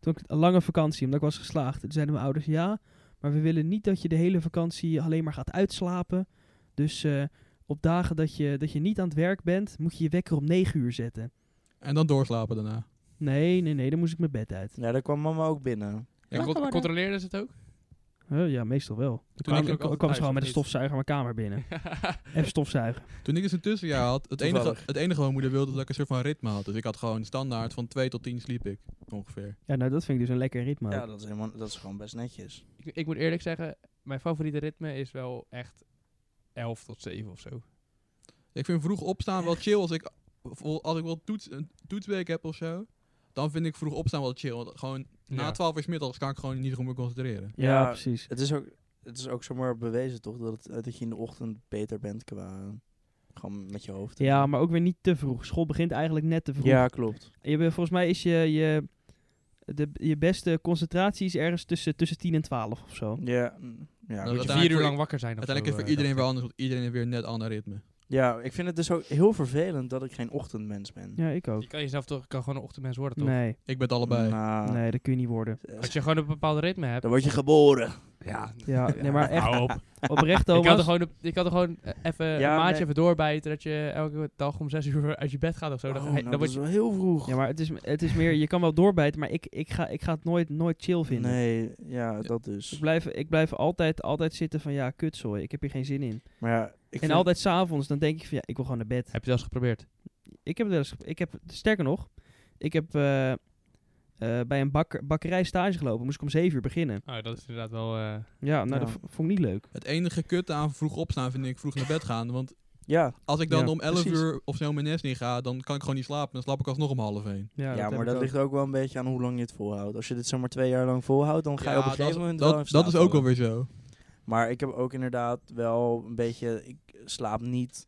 Toen had ik een lange vakantie, omdat ik was geslaagd. Toen zeiden mijn ouders, ja, maar we willen niet dat je de hele vakantie alleen maar gaat uitslapen. Dus eh, op dagen dat je, dat je niet aan het werk bent, moet je je wekker om negen uur zetten.
En dan doorslapen daarna.
Nee, nee, nee, dan moest ik mijn bed uit.
Ja, daar kwam mama ook binnen.
En
Ja,
cont- controleerden ze het ook?
Huh, ja, meestal wel.
Toen
Ik
ik,
kwam,
ook altijd
kwam
thuis,
ze gewoon met
of
een
niet?
stofzuiger mijn kamer binnen. Even stofzuigen.
toen ik dus een tussenjaar had, het enige,
Toevallig.
het enige wat mijn moeder wilde, was dat ik een soort van ritme had. Dus ik had gewoon standaard van 2 tot 10 sliep ik, ongeveer.
Ja, nou, dat vind ik dus een lekker ritme.
Ja,
Ja,
dat is, helemaal, dat is gewoon best netjes.
ik, ik moet eerlijk zeggen, mijn favoriete ritme is wel echt 11 tot 7 of zo.
Ik vind vroeg opstaan wel chill als ik, vol- als ik wel toets, een toetsweek heb of zo. Dan vind ik vroeg opstaan wel chill. Want gewoon na
Ja.
12 uur 's middags kan ik gewoon niet goed meer concentreren.
Ja.
precies.
Het is ook, het is ook zomaar bewezen, toch? Dat, het, dat je in de ochtend beter bent qua... Gewoon met je hoofd.
Ja, maar ook weer niet te vroeg. School begint eigenlijk net te vroeg.
Ja, klopt.
Je bent, volgens mij is je, je, de, je beste concentratie is ergens tussen, tussen 10 en 12 of zo.
Ja, mm,
Nou,
ja, goed.
Moet je
uiteindelijk
vier uur
voor-
lang wakker zijn. of
Uiteindelijk is het
zo,
voor
eh,
iedereen
dacht
weer anders, want iedereen heeft weer net ander ritme.
ja, ik vind het dus ook heel vervelend dat ik geen ochtendmens ben.
Ja, ik
ik.
ook.
Je kan jezelf toch, kan gewoon een ochtendmens worden, toch? Ah.
Nee,
Ik ben het allebei.
Nou,
nee, dat kun je niet worden.
eh,
Als je gewoon een bepaald ritme hebt.
Dan word je geboren.
Ja,
Ja, nee, maar echt
hou op.
oprecht
Ik kan
Thomas.
er gewoon, een- ik kan er gewoon eh, even
Ja,
een maatje
nee.
even doorbijten dat je elke dag om 6 uur uit je bed gaat of zo. Dan,
Oh,
ga je-
nou,
dan
dat
word
is
je,
wel heel vroeg.
Ja, maar het is, het is meer, je kan wel doorbijten, maar ik, ik, ga, ik ga het nooit, nooit chill vinden.
Nee, ja, dat
Ik
dus.
blijf, ik blijf altijd, altijd zitten van ja, kutzooi, ik heb hier geen zin in.
Maar ja, ik
en
vind-
altijd s'avonds, dan denk ik van ja, ik wil gewoon naar bed.
heb je dat eens geprobeerd?
Ik heb het wel eens, ge- ik heb, sterker nog, ik heb eh, eh, bij een bakker, bakkerij stage gelopen, moest ik om 7 uur beginnen.
Oh, dat is inderdaad wel... eh,
Ja, nou
Ja.
dat v- vond ik niet leuk.
Het enige kutte aan vroeg opstaan vind ik vroeg naar bed gaan. Want
Ja,
als ik dan
Ja,
om 11
precies.
uur of zo mijn nest niet ga, dan kan ik gewoon niet slapen. Dan slaap ik alsnog om half 1.
ja,
heb
maar
ik
dat
ook.
ligt ook wel een beetje aan hoe lang je het volhoudt. Als je dit zomaar twee jaar lang volhoudt, dan ga je op een gegeven moment wel in
dat, dat is
slaap
ook
vallen.
alweer zo.
Maar ik heb ook inderdaad wel een beetje... Ik slaap niet...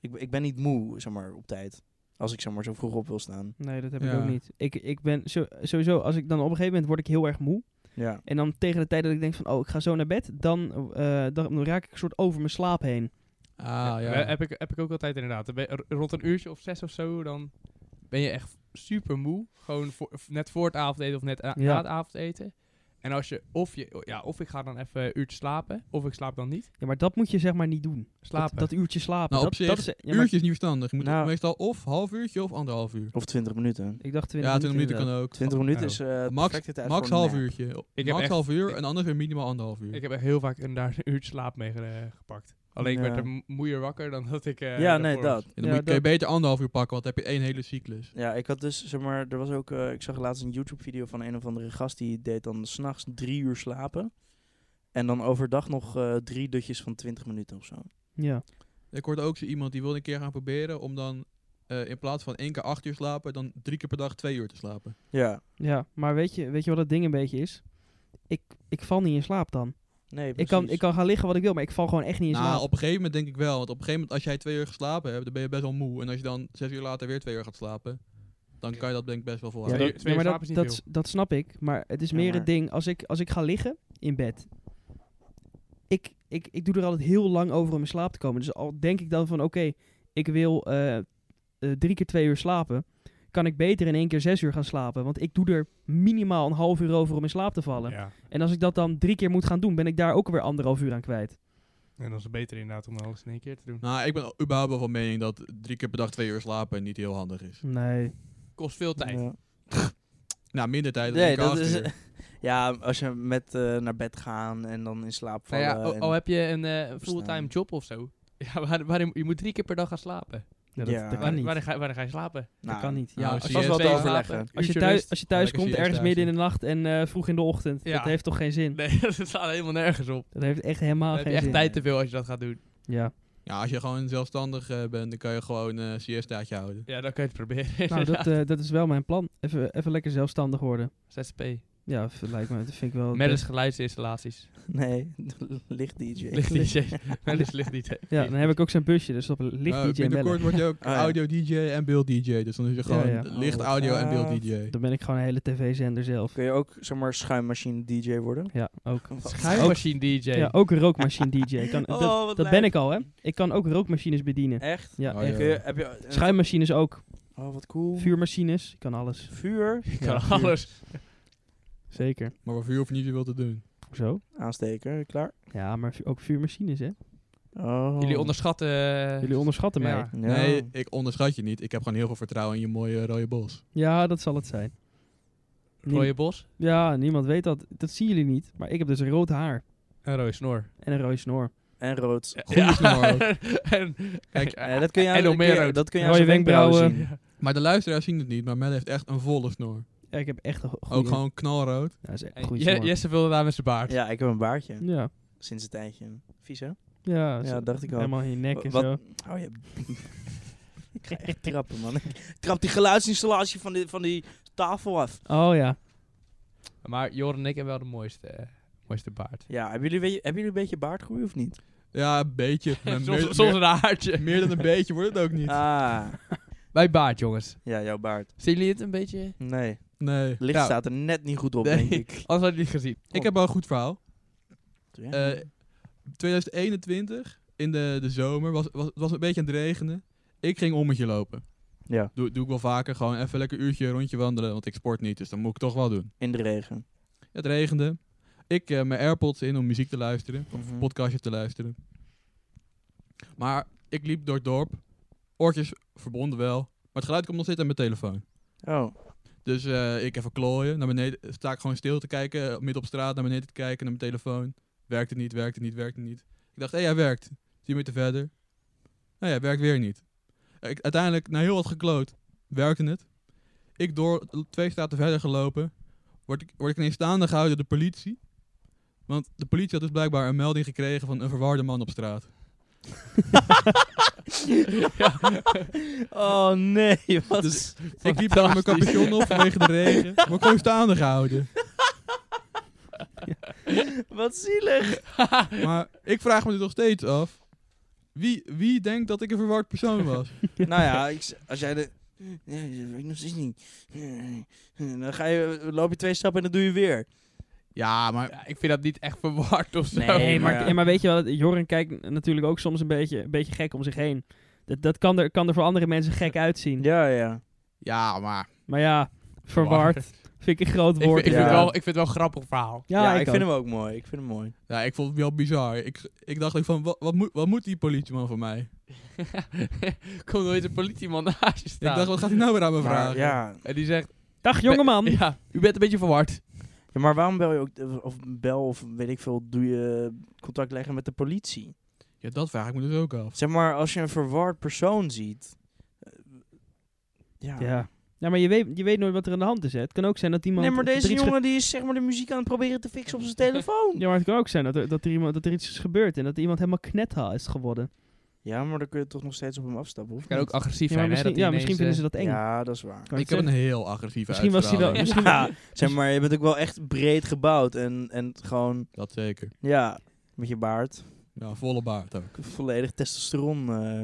Ik, ik ben niet moe, zeg maar, op tijd. Als ik zomaar zo vroeg op wil staan.
Nee, dat heb ik
Ja.
ook niet. Ik, ik ben zo- sowieso, als ik dan op een gegeven moment word ik heel erg moe.
Ja,
En dan tegen de tijd dat ik denk van, oh, ik ga zo naar bed, dan, eh, dan, dan raak ik een soort over mijn slaap heen.
Ah,
ja,
ja.
Eh, Heb, ik, heb ik ook altijd inderdaad. Dan ben je r- Rond een uurtje of zes of zo, dan ben je echt super moe. Gewoon voor, f- net voor het avondeten of net a-
Ja.
na het avondeten. En als je of, je, ja, of ik ga dan even een uurtje slapen, of ik slaap dan niet.
Ja, maar dat moet je zeg maar niet doen.
Slapen.
Dat, dat uurtje slapen.
Nou, op
dat,
zich,
dat is, ja, maar
Uurtje is niet verstandig. Je moet
Nou.
meestal of half uurtje of anderhalf uur.
of 20 minuten.
Ik dacht 20
Ja, 20 minuten
inderdaad.
kan ook.
20 minuten
Oh.
is eh
Max,
perfecte tijd
max
voor een
half
nap.
uurtje.
heb
max
echt-
half uur
ik-
en anders weer minimaal anderhalf
Hm.
uur.
Ik heb echt heel vaak een, daar een uurtje slaap mee ge- eh, gepakt. Alleen ik werd
Ja.
er m- moeier wakker dan dat ik...
ja,
eh, daarvoor
nee,
was.
dat.
En dan
Ja,
moet je, kun je
dat-
beter anderhalf uur pakken, want dan heb je één hele cyclus.
Ja, ik had dus, zeg maar, er was ook, eh, ik zag laatst een YouTube-video van een of andere gast die deed dan s'nachts drie uur slapen. En dan overdag nog eh, drie dutjes van 20 minuten of zo.
Ja.
Ik hoorde ook zo iemand die wilde een keer gaan proberen om dan eh, in plaats van één keer acht uur slapen, dan drie keer per dag twee uur te slapen.
Ja,
ja, maar weet je, weet je wat het ding een beetje is? Ik, ik val niet in slaap dan.
nee,
Ik kan,
precies.
ik kan gaan liggen wat ik wil, maar ik val gewoon echt niet in slaap.
Nou, op een gegeven moment denk ik wel. Want op een gegeven moment, als jij twee uur geslapen hebt, dan ben je best wel moe. En als je dan zes uur later weer twee uur gaat slapen, dan kan je dat denk ik best wel
Ja,
volhouden.
Twee
dat,
uur-
nee,
twee uur
maar
slaap is
dat,
niet
dat, dat snap ik. Maar het is
Ja,
meer
maar-
het ding, als ik, als ik ga liggen in bed, ik, ik, ik doe er altijd heel lang over om in slaap te komen. Dus al denk ik dan van, oké, ik wil eh, eh, drie keer twee uur slapen, kan ik beter in één keer zes uur gaan slapen. Want ik doe er minimaal een half uur over om in slaap te vallen.
Ja.
En als ik dat dan drie keer moet gaan doen, ben ik daar ook weer anderhalf uur aan kwijt.
En dan is het beter inderdaad om alles in één keer te doen.
Nou, ik ben überhaupt wel van mening dat drie keer per dag twee uur slapen niet heel handig is.
Nee.
Kost veel tijd.
Ja.
Nou, minder tijd dan
Nee,
ik
dat
acht
is.
uur.
Ja, als je met eh, naar bed gaan en dan in slaap
Nou
vallen.
ja,
oh,
al,
en-
al heb je een eh,
Verstaan.
fulltime job of zo. Ja, waar, waarin, je moet drie keer per dag gaan slapen.
Ja, dat,
Ja.
dat kan
Waar,
niet.
waarin, ga, waarin ga je slapen?
nou,
dat kan niet.
Nou,
Ja,
zie
dat
je
is
twee
wel te
Twee
slapen.
overleggen.
slapen,
Als je
uurtje
thuis,
rust.
als je thuis
Lekker
komt
siesta
ergens
is
midden in
het.
de nacht en eh, vroeg in de ochtend,
Ja.
dat heeft toch geen zin?
Nee, dat slaat helemaal nergens op.
Dat heeft echt helemaal
Dan heb je
Ah, geen zin.
echt tijd te veel als je dat gaat doen.
Ja.
Ja, als je gewoon zelfstandig eh, bent, dan kan je gewoon een siestaatje houden.
Ja, dan kan je het proberen.
Nou, dat, eh, dat is wel mijn plan. Even, even lekker zelfstandig worden.
ZSP.
Ja, v- lijkt me. Dat vind ik wel. het
Met eens
beste.
geluidsinstallaties.
Nee, licht DJ.
Licht DJ. Met eens licht DJ.
Ja, dan heb ik ook zijn busje, dus op licht
Nou,
DJ en bellen.
binnenkort word je ook
Ah, ja.
audio DJ en beeld DJ. Dus dan is je gewoon
ja.
licht
Oh,
audio en beeld
gaaf.
DJ.
Dan ben ik gewoon een hele tv-zender zelf.
Kun je ook zomaar schuimmachine DJ worden?
Ja, ook.
Schuimmachine DJ.
Ja, oh. ook een rookmachine DJ. Kan,
Oh,
dat
wat
dat ben
leuk.
ik al, hè? Ik kan ook rookmachines bedienen.
Echt?
Ja,
Oh,
echt.
ja.
Kun je, heb je, eh,
Schuimmachines ook.
Oh, wat cool.
Vuurmachines. Ik kan alles.
Vuur?
Ik
Ja,
kan
vuur.
alles.
Zeker.
Maar waarvoor je hoeft niet veel te doen.
Zo.
Aansteken, klaar.
Ja, maar vu- ook vuurmachines, hè?
Oh.
Jullie onderschatten... eh,
Jullie onderschatten mij.
ja.
Ja.
Ja.
Nee, ik onderschat je niet. Ik heb gewoon heel veel vertrouwen in je mooie rode bos.
dat zal het zijn. Niem-
Rode bos.
ja, niemand weet dat. Dat zien jullie niet. Maar ik heb dus een rood haar
En rode snor.
en een rode snor.
En rood.
Goede snor ook.
en,
Kijk,
Eh, dat kun je
en
aan, dat
nog meer
kun je-
rood.
dat kun je aan
Rode
zijn wenkbrauwen
wenkbrauwen.
zien.
Maar de luisteraars zien het niet, maar Mel heeft echt een volle snor.
Ja, ik heb echt een goede...
Ook gewoon knalrood.
Ja, dat is echt een
en
goede
Je-
snor.
Jesse wilde daar met zijn baard.
Ja, ik heb een baardje.
Ja.
Sinds een tijdje. Vies, hè?
Ja,
Ja,
zo-
dacht ik al.
Helemaal in je nek en
Wat-
zo.
Oh, je... ik ga echt trappen, man. Ik trap die geluidsinstallatie van die, van die tafel af.
Oh ja.
Maar Joren en ik hebben wel de mooiste, eh, mooiste baard.
Ja, hebben jullie, we- hebben jullie een beetje baardgroei of niet?
Ja, een beetje. Maar
soms,
meer,
soms
meer-
een haartje.
meer dan een beetje wordt het ook niet.
Ah,
Bij baard, jongens.
ja, jouw baard.
Zien jullie het een beetje?
Nee,
Nee.
licht
Ja.
staat er net niet goed op,
Nee.
denk ik.
Anders had je het niet gezien.
Ik heb wel een goed verhaal.
Ja.
Eh, 2021, in de, de zomer, was, was, het was een beetje aan het regenen. Ik ging om met je lopen.
ja,
Doe, doe ik wel vaker, gewoon even lekker een uurtje rondje wandelen, want ik sport niet, dus dan moet ik het toch wel doen.
in de regen.
Het regende. Ik eh mijn AirPods in om muziek te luisteren, of
Mhm.
podcastje te luisteren. Maar ik liep door het dorp, oortjes verbonden wel, maar het geluid komt nog steeds aan mijn telefoon.
Oh,
Dus eh, ik even klooien, naar beneden, sta ik gewoon stil te kijken, eh, midden op straat naar beneden te kijken, naar mijn telefoon. Werkt het niet, werkt het niet, werkt het niet. Ik dacht, hé, hij werkt. 10 minuten verder. Nou ja, werkt weer niet. Ik, uiteindelijk, na heel wat gekloot, werkte het. Ik door twee straten verder gelopen, word ik, word ik ineens staande gehouden door de politie. Want de politie had dus blijkbaar een melding gekregen van een verwarde man op straat.
oh nee, wat
Dus ik liep daar met mijn capuchon op vanwege de regen, maar gewoon staande gehouden.
Wat zielig.
Maar ik vraag me dit nog steeds af. Wie, wie denkt dat ik een verward persoon was?
nou ja, ik z- als jij de... Nee, dat weet ik nog steeds niet. Nee. Dan ga je, loop je twee stappen en dan doe je weer.
Ja, maar...
Ja, ik vind dat niet echt verward of zo.
Nee,
Nee, maar,
maar ja.
eh, maar weet je wel, Joren kijkt natuurlijk ook soms een beetje, een beetje gek om zich heen. Dat, dat kan, er, kan er voor andere mensen gek uitzien.
Ja, ja.
Ja, maar...
Maar ja, verward vind ik een groot
Ik, vind-
woord.
ik,
Ja.
vind wel, ik vind het wel een grappig verhaal.
Ja,
ja,
ik, vind
ook.
hem ook mooi. Ik vind hem mooi.
Ja, ik vond het wel bizar. Ik, ik dacht ook van, wat, wat, moet, wat moet die politieman van mij?
Komt nooit een politieman naast je staan.
Ik dacht, wat gaat hij nou weer aan me
Maar,
vragen?
ja.
En die zegt...
Dag jongeman!
Ja, u bent een beetje verward.
Ja, maar waarom bel je ook... Of bel of weet ik veel, doe je contact leggen met de politie?
Ja, dat vraag ik me dus ook af.
Zeg maar, als je een verward persoon ziet. eh, ja.
Ja. ja, maar je weet, je weet nooit wat er aan de hand is. Hè. Het kan ook zijn dat iemand...
Nee, maar
dat er
deze
iets ge-
jongen die is zeg maar de muziek aan het proberen te fixen op zijn telefoon.
Ja, maar het kan ook zijn dat er, dat er, iemand, dat er iets is gebeurd en dat iemand helemaal knetha is geworden.
Ja, maar dan kun je toch nog steeds op hem afstappen. Of
Kan ook
niet?
agressief
Ja, maar
zijn, hè.
misschien,
dat
ja,
hij
misschien vinden
ineens, eh,
ze dat eng.
Ja, dat is waar.
Kan
ik
het
heb een
zeggen.
heel agressieve
Misschien was hij wel...
uitstraling.
Misschien,
Ja, zeg maar, je bent ook wel echt breed gebouwd en, en gewoon,
Dat zeker.
ja, met je baard.
Ja, volle baard ook.
Volledig testosteron. eh,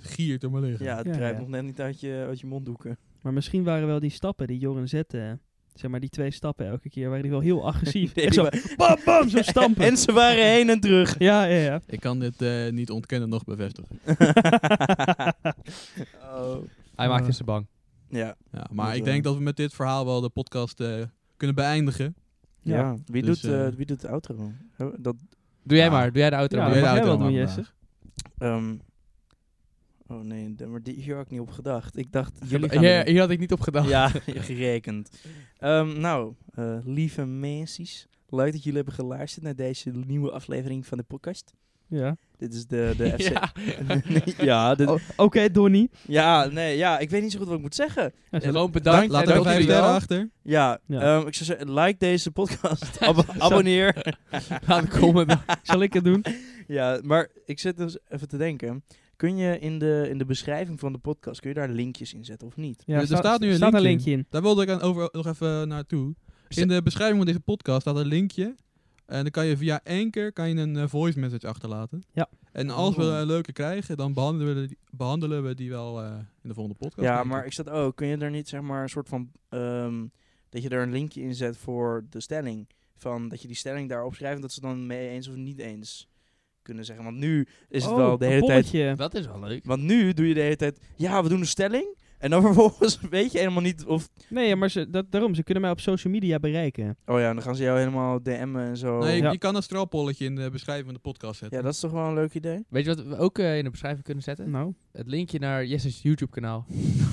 Giert om mijn lichaam.
ja, het
Ja,
kruipt
ja.
nog net niet uit je, uit je monddoeken.
Maar misschien waren wel die stappen die Joren zette... hè. Zeg maar die twee stappen elke keer waren die wel heel agressief.
Nee,
Echt zo,
maar-
bam, bam, zo stampen.
En ze waren heen en terug.
Ja, ja, ja.
Ik kan dit eh, niet ontkennen, nog bevestigen.
oh.
Hij maakt
Eh.
ze bang.
Ja.
Ja,
Dat,
maar ik
eh,
denk dat we met dit verhaal wel de podcast eh, kunnen beëindigen.
Ja, wie,
Dus,
doet, eh,
eh,
wie doet de outro? Hebben we- Dat
Doe jij
Ja.
maar, doe jij de eh. outro
Ja,
maar.
dat
Doe
mag
jij de
jij wel
outro maar
doen, Jesse.
vandaag.
Ehm, oh nee, d- maar die, hier had ik niet op gedacht. Ik dacht, jullie gaan
Hier,
erin.
hier had ik niet op gedacht.
Ja, gerekend. Ehm, nou, eh, lieve mensen, leuk dat jullie hebben geluisterd naar deze nieuwe aflevering van de podcast.
Ja.
Dit is de, de FC...
Ja.
Nee, ja, dit-
Oké, Donnie.
ja, nee, ja, ik weet niet zo goed wat ik moet zeggen.
Ja, zo-
Gewoon bedankt.
Laat
en
er
dat
vijf
jullie
sterren
wel.
achter.
Ja,
Ja.
ehm, ik zou zeggen, like deze podcast, Ab- abonneer.
"Ah,
Laat een comment achter.
Zal ik het doen?
Ja, maar ik zit dus even te denken, kun je in de, in de beschrijving van de podcast, kun je daar linkjes in zetten of niet?
Ja,
Er staat nu een
staat
linkje
linkje in.
Daar wilde ik aan over, nog even naartoe.
Ze-
In de beschrijving van deze podcast staat een linkje. En dan kan je via Anchor kan je een eh, voice message achterlaten.
Ja.
En als we
Oh.
een leuke krijgen, dan behandelen we die, behandelen we die wel eh, in de volgende podcast.
Ja,
denk ik.
maar ik zat ook. Kun je daar niet zeg maar een soort van. ehm, dat je daar een linkje in zet voor de stelling. Van dat je die stelling daar opschrijft. en Dat ze dan mee eens of niet eens kunnen zeggen. Want nu is
Oh,
het wel de hele tijd.
tijd.
Dat is wel leuk.
Want nu doe je de hele tijd. Ja, we doen een stelling. En dan vervolgens weet je helemaal niet of.
Nee, ja, maar ze, dat, daarom, ze kunnen mij op social media bereiken.
Oh ja, dan gaan ze jou helemaal DM'en en zo.
Nee, je-
Ja.
je kan een straalpolletje in de beschrijving van de podcast zetten.
Ja, dat is toch wel een leuk idee.
Weet je wat we ook eh, in de beschrijving kunnen zetten?
Nou.
Het linkje naar Jesse's YouTube kanaal.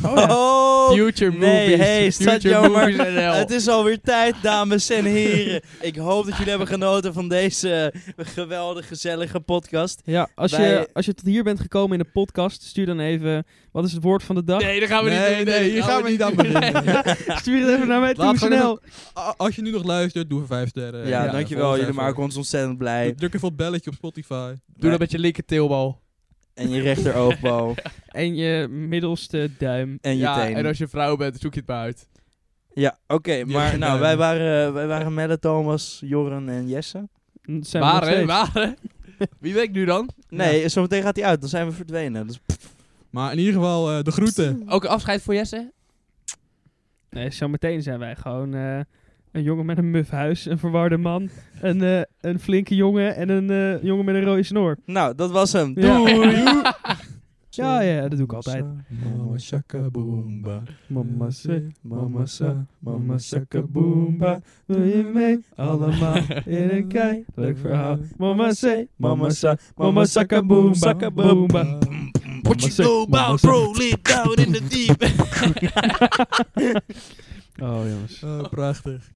Oh, ja.
Future
nee,
Movies.
hey, staat
Future
jou maar-
Movies NL.
Het is alweer tijd, dames en heren. Ik hoop dat jullie hebben genoten van deze geweldige, gezellige podcast.
Ja, als, je,
Wij-
als je tot hier bent gekomen in de podcast, stuur dan even... Wat is het woord van de dag?
Nee, daar gaan we
Nee,
niet doen.
nee, hier gaan we niet aan beginnen.
Nee.
Stuur het even naar mij toe,
Laat gewoon
snel.
A- Als je nu nog luistert, doe er vijf sterren.
Ja,
Ja,
dankjewel. Jullie maken ons ontzettend blij.
Druk even op het belletje op Spotify.
Doe dat met je linker teelbal.
En je rechteroogboog.
En je middelste duim.
en je
ja,
tenen.
en als je vrouw bent, zoek je het maar uit.
Ja, oké. maar nou,
rechterbeen.
wij waren, wij waren Melle, Thomas, Joren en Jesse.
Dat zijn we nog
Waren,
steeds.
waren. Wie ben ik nu dan?
Nee, zometeen gaat hij uit. Dan zijn we verdwenen. Dus
Maar in ieder geval, eh, de groeten.
Ook een afscheid voor Jesse?
Nee, zometeen zijn wij gewoon eh, een jongen met een muf huis, een verwarde man, een, eh, een flinke jongen en een eh, jongen met een rode snor.
nou, dat was hem.
Ja.
Doei!
Ja, ja, dat doe ik altijd.
Mama shaka boomba. Mama say, mama sa, mama shaka
boomba. Doe je mee? Allemaal in een kei. Leuk verhaal. Mama say, mama sa, mama sakka boom, sakka boomba.
What you know about, bro? Live down in the deep.
Oh jongens.
Oh, prachtig.